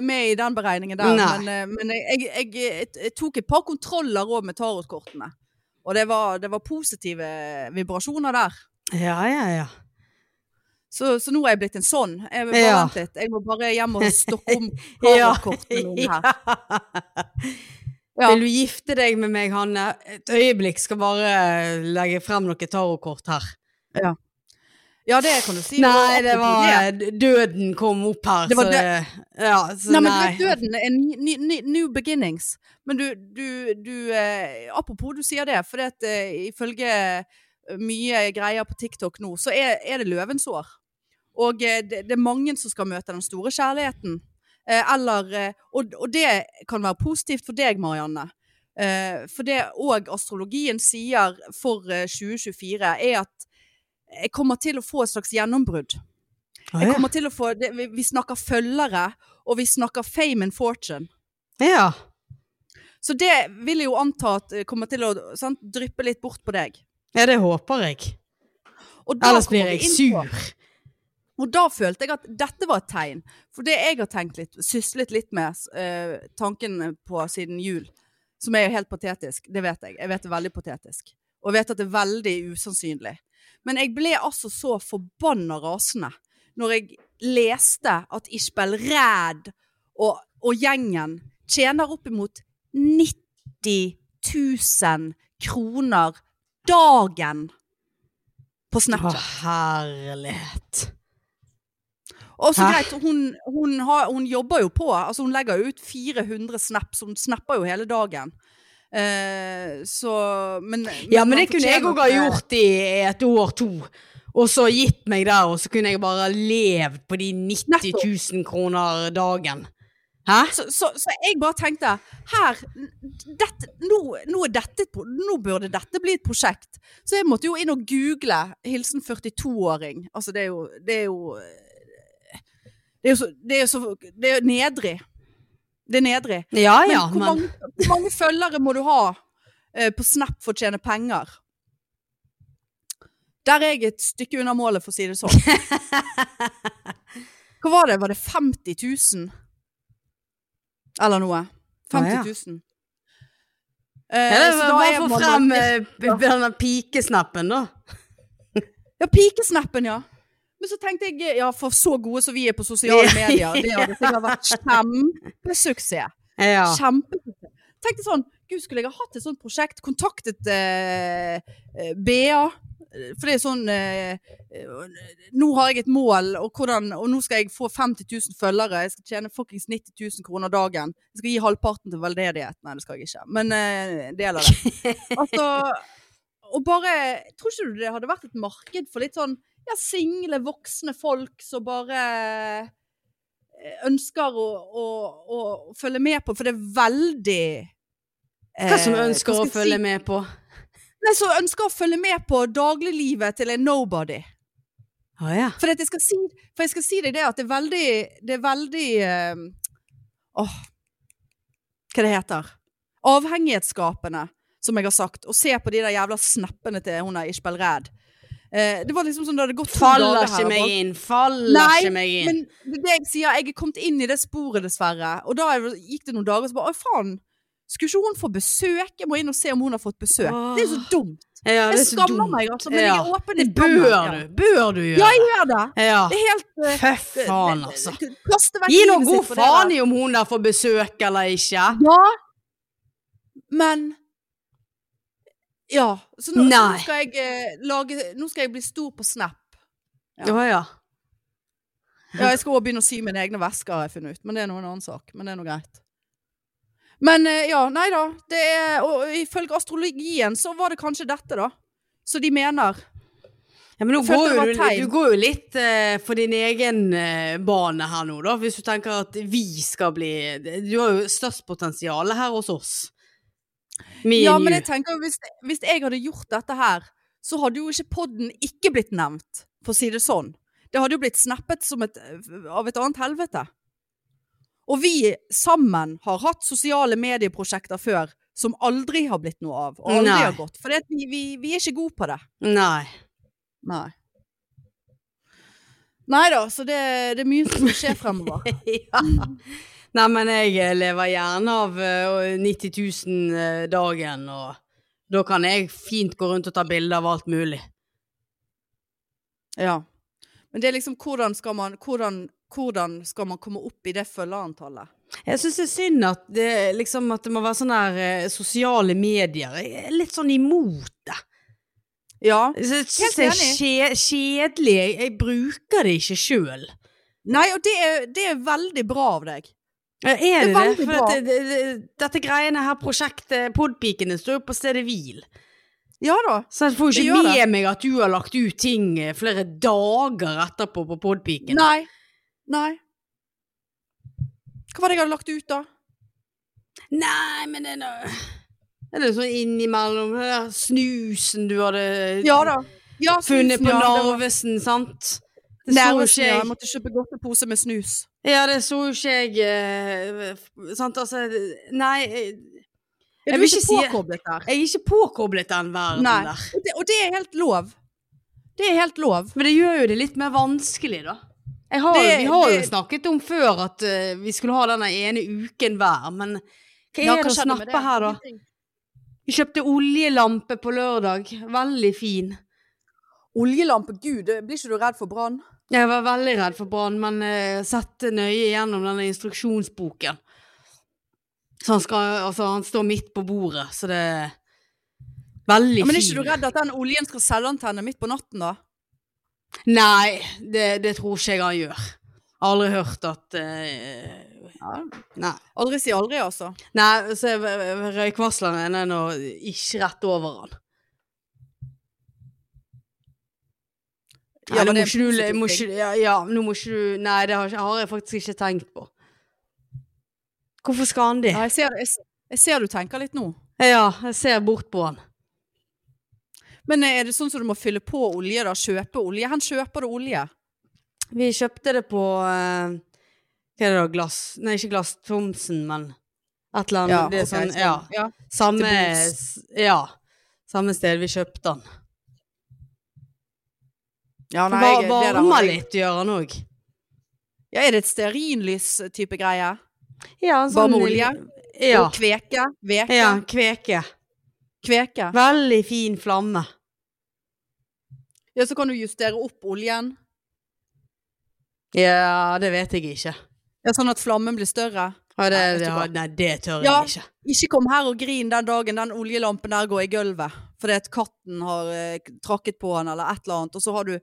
S1: med i den beregningen der.
S2: Nei.
S1: Men, eh, men jeg, jeg, jeg, jeg tok et par kontroller òg med tarotkortene. Og det var, det var positive vibrasjoner der.
S2: Ja, ja, ja.
S1: Så, så nå er jeg blitt en sånn. Jeg, bare,
S2: Ja.
S1: vent litt. jeg må bare hjem og stokke om
S2: Ja.
S1: kamerkortene mine her. Ja.
S2: Vil du gifte deg med meg, Hanne? Et øyeblikk skal bare legge frem noen tarotkort her.
S1: Ja, det kan du si.
S2: Nei, det
S1: Apropos
S2: var eh, Døden kom opp her,
S1: Det var
S2: så
S1: dø-
S2: det Ja, så
S1: Nei,
S2: sånn nei.
S1: men du vet, døden er ny, ny, ny, new beginnings. Men du, du, du eh, Apropos du sier det, for det at, eh, ifølge eh, mye greier på TikTok nå, så er, er det løvens år. Og eh, det, det er mange som skal møte den store kjærligheten. Eh, eller eh, og, og det kan være positivt for deg, Marianne. Eh, for det òg astrologien sier for eh, 2024, er at jeg kommer til å få et slags gjennombrudd.
S2: Å,
S1: Jeg kommer til å få, det, vi, vi snakker følgere, og vi snakker fame and fortune.
S2: ja. ja.
S1: Så det vil jeg jo anta at eh, kommer til å sant, dryppe litt bort på deg.
S2: Ja, det håper jeg.
S1: Og da
S2: Ellers
S1: kommer vi
S2: blir jeg
S1: inn på-
S2: sur.
S1: Og da følte jeg at dette var et tegn. For det jeg har tenkt litt, syslet litt med eh, tanken på siden jul, som er jo helt patetisk, det vet jeg. Jeg vet det er veldig patetisk. Og jeg vet at det er veldig usannsynlig. Men jeg ble altså så forbanna rasende når jeg leste at Ishbel Ræd og, og gjengen tjener oppimot 90 000 kroner dagen på
S2: Å,
S1: Snapchat.
S2: herlighet.
S1: Og så
S2: Hæ?
S1: greit, hun, hun, har, hun jobber jo på. Altså, hun legger jo ut 400 snaps. Hun snapper jo hele dagen. Eh, så Men
S2: Ja, men det
S1: man
S2: kunne jeg
S1: fortjener
S2: òg ha
S1: at-
S2: gjort i et år, to. Og så gitt meg der, og så kunne jeg bare levd på de 90 000 kroner dagen. Hæ?
S1: Så, så, så jeg bare tenkte her, dette, nå, nå, er dette, et pro- nå burde dette bli et prosjekt. Så jeg måtte jo inn og google 'hilsen 42-åring'. Altså, det er jo Det er jo eh, Det er jo så Det er, jo så, det er jo nedrig. Det er nedrig.
S2: Ja
S1: Men
S2: Ah, ja,
S1: hvor,
S2: men
S1: mange, hvor mange følgere må du ha eh, på Snap for å tjene penger? Der er jeg et stykke unna målet, for å si det sånn. Hva var det? Var det 50 000? Eller
S2: Ah,
S1: noe. 50 000. Eh,
S2: ja, det
S1: så
S2: var
S1: da
S2: Bare
S1: er
S2: få
S1: man-
S2: frem eh, p- denne pikesnappen, da.
S1: Ja, pikesnappen, ja. Men så tenkte jeg, ja, for så gode som vi er på sosiale
S2: Ja.
S1: medier, det hadde sikkert vært kjempesuksess.
S2: Eh, Ja.
S1: Kjempesuksess. Tenkte sånn, gud, skulle jeg ha hatt et sånt prosjekt, kontaktet eh, eh, BA, eh, for det er sånn, eh, eh, nå har jeg et mål, og, hvordan, og nå skal jeg få 50 000 følgere, jeg skal tjene fuckings 90 000 kroner dagen, jeg skal gi halvparten til veldedighet, nei, det skal jeg ikke, men eh, en del av det. Altså, og bare, tror ikke du det hadde vært et marked for litt sånn, ja, single, voksne folk som bare eh, ønsker å, å, å følge med på, for det er veldig eh,
S2: Hva som ønsker å følge
S1: med?
S2: med på?
S1: Nei, som ønsker å følge med på dagliglivet til en nobody.
S2: Å ja.
S1: For, at jeg, skal si, for jeg skal si deg det at det er veldig Det er veldig eh, Åh Hva det heter Avhengighetsskapende, som jeg har sagt. Å se på de der jævla snappene til hun der Ishbel Ræd. Eh, det var liksom sånn da det hadde gått to
S2: Faller
S1: dager
S2: ikke
S1: og
S2: meg
S1: bare-
S2: inn, faller
S1: Nei,
S2: ikke meg inn.
S1: Men det er det jeg sier, jeg er kommet inn i det sporet, dessverre. Og da er det- gikk det noen dager, og så bare Å, faen! Skulle ikke hun få besøk? Jeg må inn og se om hun har fått besøk. Det er jo så dumt.
S2: Eh, Ja, det
S1: Jeg
S2: er så
S1: skammer
S2: dumt.
S1: meg, altså, men
S2: Ja.
S1: jeg er åpen i
S2: Det
S1: skammen.
S2: bør
S1: Ja.
S2: du. Bør du
S1: Ja,
S2: gjøre.
S1: jeg gjør det.
S2: Ja.
S1: Det er helt eh,
S2: Fy faen, altså.
S1: Kaste vekk
S2: Gi nå
S1: livet
S2: god
S1: sitt på det
S2: faen
S1: der.
S2: i om hun der får besøk eller ikke.
S1: Ja. Men Ja. Så nå, så nå
S2: Nei.
S1: skal jeg eh, lage Nå skal jeg bli stor på Snap. Ja.
S2: Å ja.
S1: Ja, jeg skal også begynne å sy mine egne vesker, har jeg funnet ut. Men det er noe en annen sak. Men det er noe greit. Men eh, ja, nei da. Det er, og og ifølge astrologien så var det kanskje dette, da. Så de mener.
S2: Ja, men nå
S1: Jeg følte
S2: går
S1: det
S2: jo,
S1: var
S2: du,
S1: tegn.
S2: du går jo litt eh, for din egen eh, bane her nå, da. Hvis du tenker at vi skal bli Du har jo størst potensial her hos oss. Me
S1: Ja,
S2: and
S1: men
S2: you.
S1: jeg tenker jo hvis, hvis jeg hadde gjort dette her, så hadde jo ikke podden ikke blitt nevnt, for å si det sånn. Det hadde jo blitt snappet som et, av et annet helvete. Og vi sammen har hatt sosiale medieprosjekter før som aldri har blitt noe av. Og aldri
S2: Nei.
S1: har gått. For det at vi, vi, vi er ikke gode på det.
S2: Nei.
S1: Nei. Nei da, så det, det er mye som skal skje fremover.
S2: ja. Nei, men jeg eh, lever gjerne av eh, 90 000 eh, dagen, og da kan jeg fint gå rundt og ta bilder av alt mulig.
S1: Ja. Men det er liksom hvordan skal man, hvordan, hvordan skal man komme opp i det følgerantallet?
S2: Jeg syns det er synd at det, liksom, at det må være sånn her eh, sosiale medier. Jeg er litt sånn imot det.
S1: Ja.
S2: Jeg syns
S1: Helt
S2: det er kje, kjedelig. Jeg, jeg bruker det ikke sjøl.
S1: Nei, og det er, det er veldig bra av deg.
S2: Er det det?
S1: veldig
S2: For
S1: bra.
S2: at det, det, det, dette greiene her, prosjektet Podpikene, står jo på stedet hvil.
S1: Ja da.
S2: Så jeg får jo
S1: Det
S2: ikke
S1: gjør
S2: med
S1: det.
S2: meg at du har lagt ut ting eh, flere dager etterpå på Podpikene.
S1: Nei. Nei. Hva var det jeg hadde lagt ut, da?
S2: Nei, men det er noe Det er noe sånn innimellom. det der Snusen du hadde
S1: Ja da. Ja,
S2: funnet
S1: snusen,
S2: på
S1: ja, det var-
S2: Narvesen, sant? Det så jo
S1: Nærmest,
S2: ikke
S1: ja. Jeg
S2: jeg.
S1: måtte kjøpe godtepose med snus.
S2: Ja, det så jo ikke jeg eh, f- Sant, altså Nei, jeg
S1: Er du
S2: Jeg vil
S1: ikke
S2: ikke si-
S1: påkoblet der?
S2: jeg er ikke påkoblet den verden
S1: Nei.
S2: der.
S1: Og det, og det er helt lov. Det er helt lov.
S2: Men det gjør jo det litt mer vanskelig, da. Jeg har,
S1: Det-
S2: vi har jo
S1: det-
S2: snakket om før at eh, vi skulle ha denne ene uken hver, men hva er
S1: Ja,
S2: det å
S1: skjedde med
S2: snappe her, da? Vi kjøpte oljelampe på lørdag. Veldig fin.
S1: Oljelampe, gud, blir ikke du redd for brann?
S2: Jeg var veldig redd for brann, men uh, sette nøye gjennom denne instruksjonsboken. Så han skal Altså, han står midt på bordet, så det er Veldig
S1: Ja,
S2: fin.
S1: men er ikke du redd at den oljen skal selvantenne midt på natten, da?
S2: Nei, det, det tror ikke jeg han gjør. Jeg har aldri hørt at eh, Nei.
S1: Aldri si aldri, altså.
S2: nei så er v- v- røykvarsleren ene nå ikke rett over han.
S1: Ja,
S2: Ja, nå
S1: men
S2: må
S1: det er en
S2: ikke du
S1: positiv
S2: må
S1: ting.
S2: ikke, ja, ja, nå må ikke du Nei, det har, ikke, har jeg faktisk ikke tenkt på. Hvorfor skal han det?
S1: Ja, jeg, ser, jeg, s- jeg ser du tenker litt nå.
S2: Ja, jeg ser bort på han.
S1: Men eh, er det sånn som du må fylle på olje, da? Kjøpe olje? Hvor kjøper du olje?
S2: Vi kjøpte det på eh, Hva er det da? Glass Nei, ikke Glass Thomsen, men et eller annet. det er
S1: ok,
S2: sånn, ja.
S1: ja.
S2: Samme,
S1: Til
S2: s- ja, samme sted vi kjøpte den.
S1: Ja, nei,
S2: Var
S1: jeg- det der
S2: varmer
S1: har jeg-
S2: litt, gjør han òg.
S1: Ja, er det et stearinlys-type greie?
S2: Ja, en sånn
S1: Varme olje?
S2: Ja.
S1: Og kveke? Veke?
S2: ja. Kveke.
S1: Kveke?
S2: Veldig fin flamme.
S1: Ja, så kan du justere opp oljen,
S2: Ja, det vet jeg ikke.
S1: ja, sånn at flammen blir større.
S2: Ja, det,
S1: Nei, vet du
S2: det,
S1: hva?
S2: nei, det tør
S1: Ja.
S2: jeg ikke.
S1: Ikke kom her og grin den dagen den oljelampen der går i gulvet fordi at katten har eh, trakket på den eller et eller annet, og så har du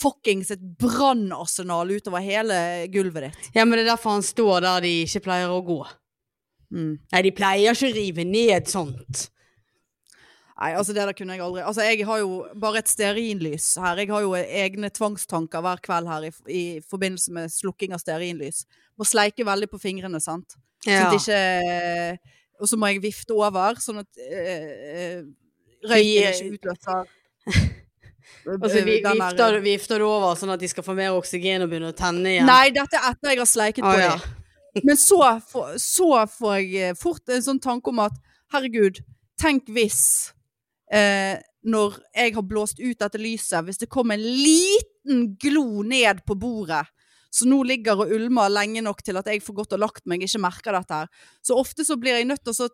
S1: fuckings et brannarsenal utover hele gulvet ditt.
S2: Ja, men det er derfor han står der de ikke pleier å gå.
S1: Mm.
S2: Nei, de pleier ikke å rive ned sånt.
S1: Nei, altså det der kunne jeg aldri Altså jeg har jo bare et stearinlys her. Jeg har jo egne tvangstanker hver kveld her i, i forbindelse med slukking av stearinlys. Må sleike veldig på fingrene, sant. Sånn
S2: Ja.
S1: at ikke Og så må jeg vifte over, sånn at eh, eh,
S2: Vi-
S1: røyken ikke utløser
S2: Altså, vi,
S1: eh, den der-
S2: vifter, vifter det over sånn at de skal få mer oksygen og begynne å tenne igjen.
S1: Nei, dette er etter jeg har sleiket
S2: Å,
S1: på
S2: ja.
S1: det. Men så, får- så får jeg eh, fort en sånn tanke om at herregud, tenk hvis eh, når jeg har blåst ut dette lyset, hvis det kom en liten glo ned på bordet, så nå ligger og ulmer lenge nok til at jeg får godt og lagt meg, ikke merker dette her. Så ofte så blir jeg nødt til å så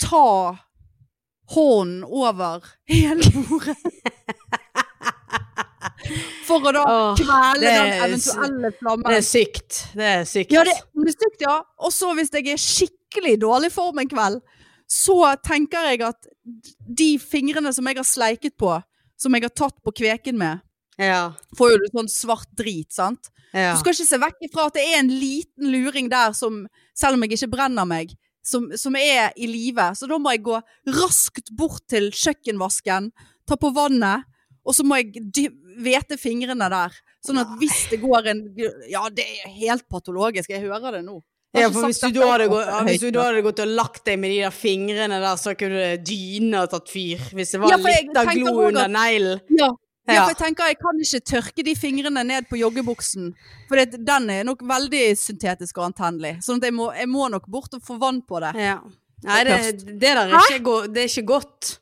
S1: ta hånden over hele bordet. For å da
S2: Åh,
S1: kvele
S2: det er
S1: den
S2: s-
S1: eventuelle flammen.
S2: Det er sykt. Det er sykt.
S1: Ja, det, om det er stygt, ja. Og så hvis jeg er skikkelig dårlig form en kveld, så tenker jeg at de fingrene som jeg har sleiket på, som jeg har tatt på kveken med,
S2: ja.
S1: får jo litt sånn svart drit, sant?
S2: ja.
S1: Du skal ikke se vekk ifra at det er en liten luring der som, selv om jeg ikke brenner meg, som, som er i live. Så da må jeg gå raskt bort til kjøkkenvasken, ta på vannet, og så må jeg dy hvete fingrene der. Sånn at hvis det går en Ja, det er helt patologisk. Jeg hører det nå. Jeg
S2: Ja,
S1: har ikke
S2: for hvis du,
S1: sagt
S2: da hadde
S1: dette
S2: gått, ja, hvis du
S1: høyt
S2: da
S1: nok.
S2: hadde gått og lagt deg med de der fingrene der, så kunne dyna tatt fyr. Hvis det var
S1: Ja, for jeg
S2: litt av
S1: tenker
S2: glo
S1: også
S2: under
S1: at-
S2: neglen.
S1: ja. Ja,
S2: Ja.
S1: for jeg tenker jeg kan ikke tørke de fingrene ned på joggebuksen. For det, den er nok veldig syntetisk og antennelig. Sånn at jeg må, jeg må nok bort og få vann på det.
S2: Ja. Nei, det,
S1: Først.
S2: det der er ikke, go det er ikke godt.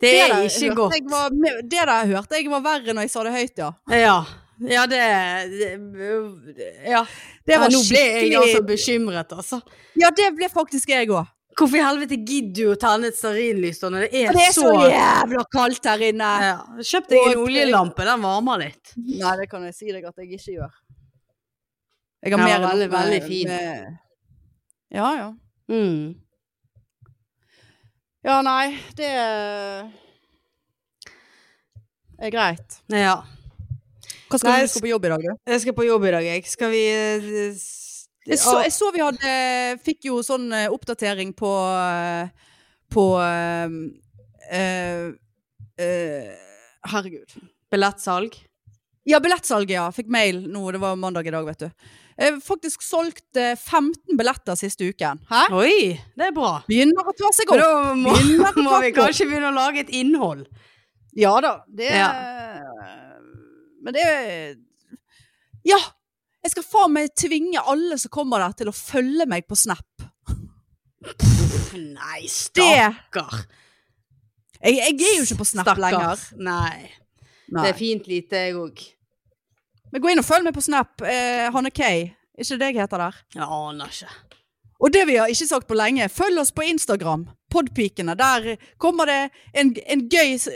S2: Det er
S1: der
S2: ikke
S1: hørte
S2: godt.
S1: Jeg var, med- det der hørte jeg var verre når jeg sa det høyt, ja.
S2: Ja. Ja, det, det Ja.
S1: Det
S2: ja,
S1: var
S2: nå ble jeg
S1: skikkelig-
S2: altså bekymret, altså.
S1: Ja, det ble faktisk jeg òg.
S2: Hvorfor i helvete gidder du å tenne et stearinlys da når det er,
S1: Det er så
S2: så
S1: jævla kaldt her inne!
S2: ja. Kjøp deg en
S1: Og-
S2: oljelampe, den varmer litt.
S1: Nei, det kan jeg si deg at jeg ikke gjør. Jeg har mer
S2: Ja,
S1: enn nok
S2: veldig,
S1: med-
S2: veldig fin.
S1: med- Ja, ja.
S2: Mm.
S1: Ja, nei, det er greit.
S2: Ja.
S1: Hva
S2: skal
S1: skal
S2: du-
S1: du skal på jobb i dag, du?
S2: Jeg skal på jobb i dag, jeg. Skal vi eh, s-
S1: Jeg så,
S2: Ja.
S1: jeg så vi hadde Fikk jo sånn eh, oppdatering på eh, På eh, eh, eh, Herregud.
S2: Billettsalg?
S1: Ja, billettsalget, ja. Fikk mail nå. Det var mandag i dag, vet du. Jeg har faktisk solgt eh, 15 billetter siste uken. Hæ?
S2: Oi, det er bra.
S1: Begynner å ta seg
S2: Men
S1: opp.
S2: da må,
S1: Begynner å
S2: må
S1: ta
S2: vi
S1: seg opp.
S2: kanskje begynne å lage et innhold.
S1: Ja da, det eh,
S2: Ja.
S1: Men det Ja! Jeg skal faen meg tvinge alle som kommer der, til å følge meg på Snap.
S2: Nei,
S1: Det
S2: stakkar.
S1: Jeg, jeg er jo ikke på Snap
S2: Stakkar.
S1: lenger.
S2: Nei.
S1: Nei.
S2: Det er fint lite, jeg òg.
S1: Men gå inn og følg meg på Snap. Eh, Hanne K. Ikke det jeg heter der.
S2: Jeg aner ikke.
S1: Og det vi har ikke sagt på lenge, følg oss på Instagram. Podpikene. Der kommer det en, en, gøy, s-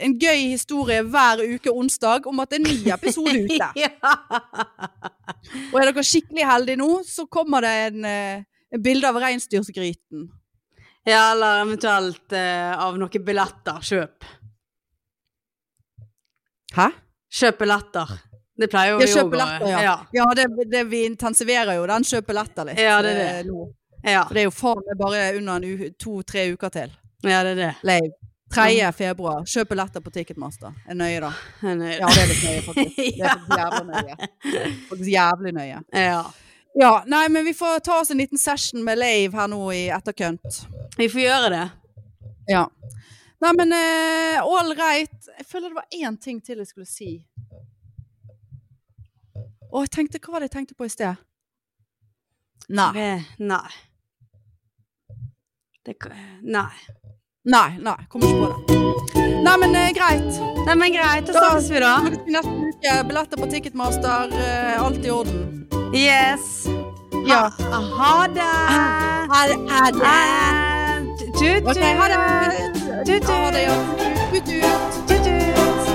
S1: en gøy historie hver uke onsdag om at det er en ny episode ute. Og er dere skikkelig heldige nå, så kommer det en, eh, en bilde av reinsdyrsgryten.
S2: Ja, eller eventuelt eh, av noen billetter. Kjøp.
S1: Hæ?
S2: Kjøp billetter. Det pleier jo
S1: Ja,
S2: vi
S1: kjøp
S2: òg å
S1: billetter, ja.
S2: ja.
S1: Ja, det, det, vi intensiverer jo den kjøp billetter litt.
S2: Ja, det er det.
S1: eh, nå.
S2: Ja.
S1: For det er jo faen meg bare under to-tre uker til.
S2: ja, det er det.
S1: Leiv. 3. februar. Kjøp billetter på Ticketmaster. Er nøye, da.
S2: Jeg er nøyd.
S1: Ja, det er litt nøye, faktisk. Det er faktisk jævlig nøye. Faktisk jævlig nøye.
S2: ja.
S1: Ja, nei, men vi får ta oss en liten session med Leiv her nå i etterkant.
S2: Vi får gjøre det.
S1: Ja. Nei, men eh, all right. Jeg føler det var én ting til jeg skulle si. Å, jeg tenkte, hva var det jeg tenkte på i sted? Nei.
S2: Eh, Nei. Det, kan- nei.
S1: Nei, nei, kommer ikke på det. Nei, men eh, greit.
S2: Nei, men greit. Da snakkes vi, da.
S1: Snakkes vi Neste uke. Billetter på Ticketmaster. eh, alt i orden.
S2: Yes.
S1: Ja.
S2: Ha, ha det.
S1: Her er
S2: 아, Eh, Tut,
S1: 아,
S2: tut.
S1: Ok, ha det.
S2: Tut,
S1: Ha det,
S2: tut.
S1: ja. Ut, ut.
S2: Tut, tut.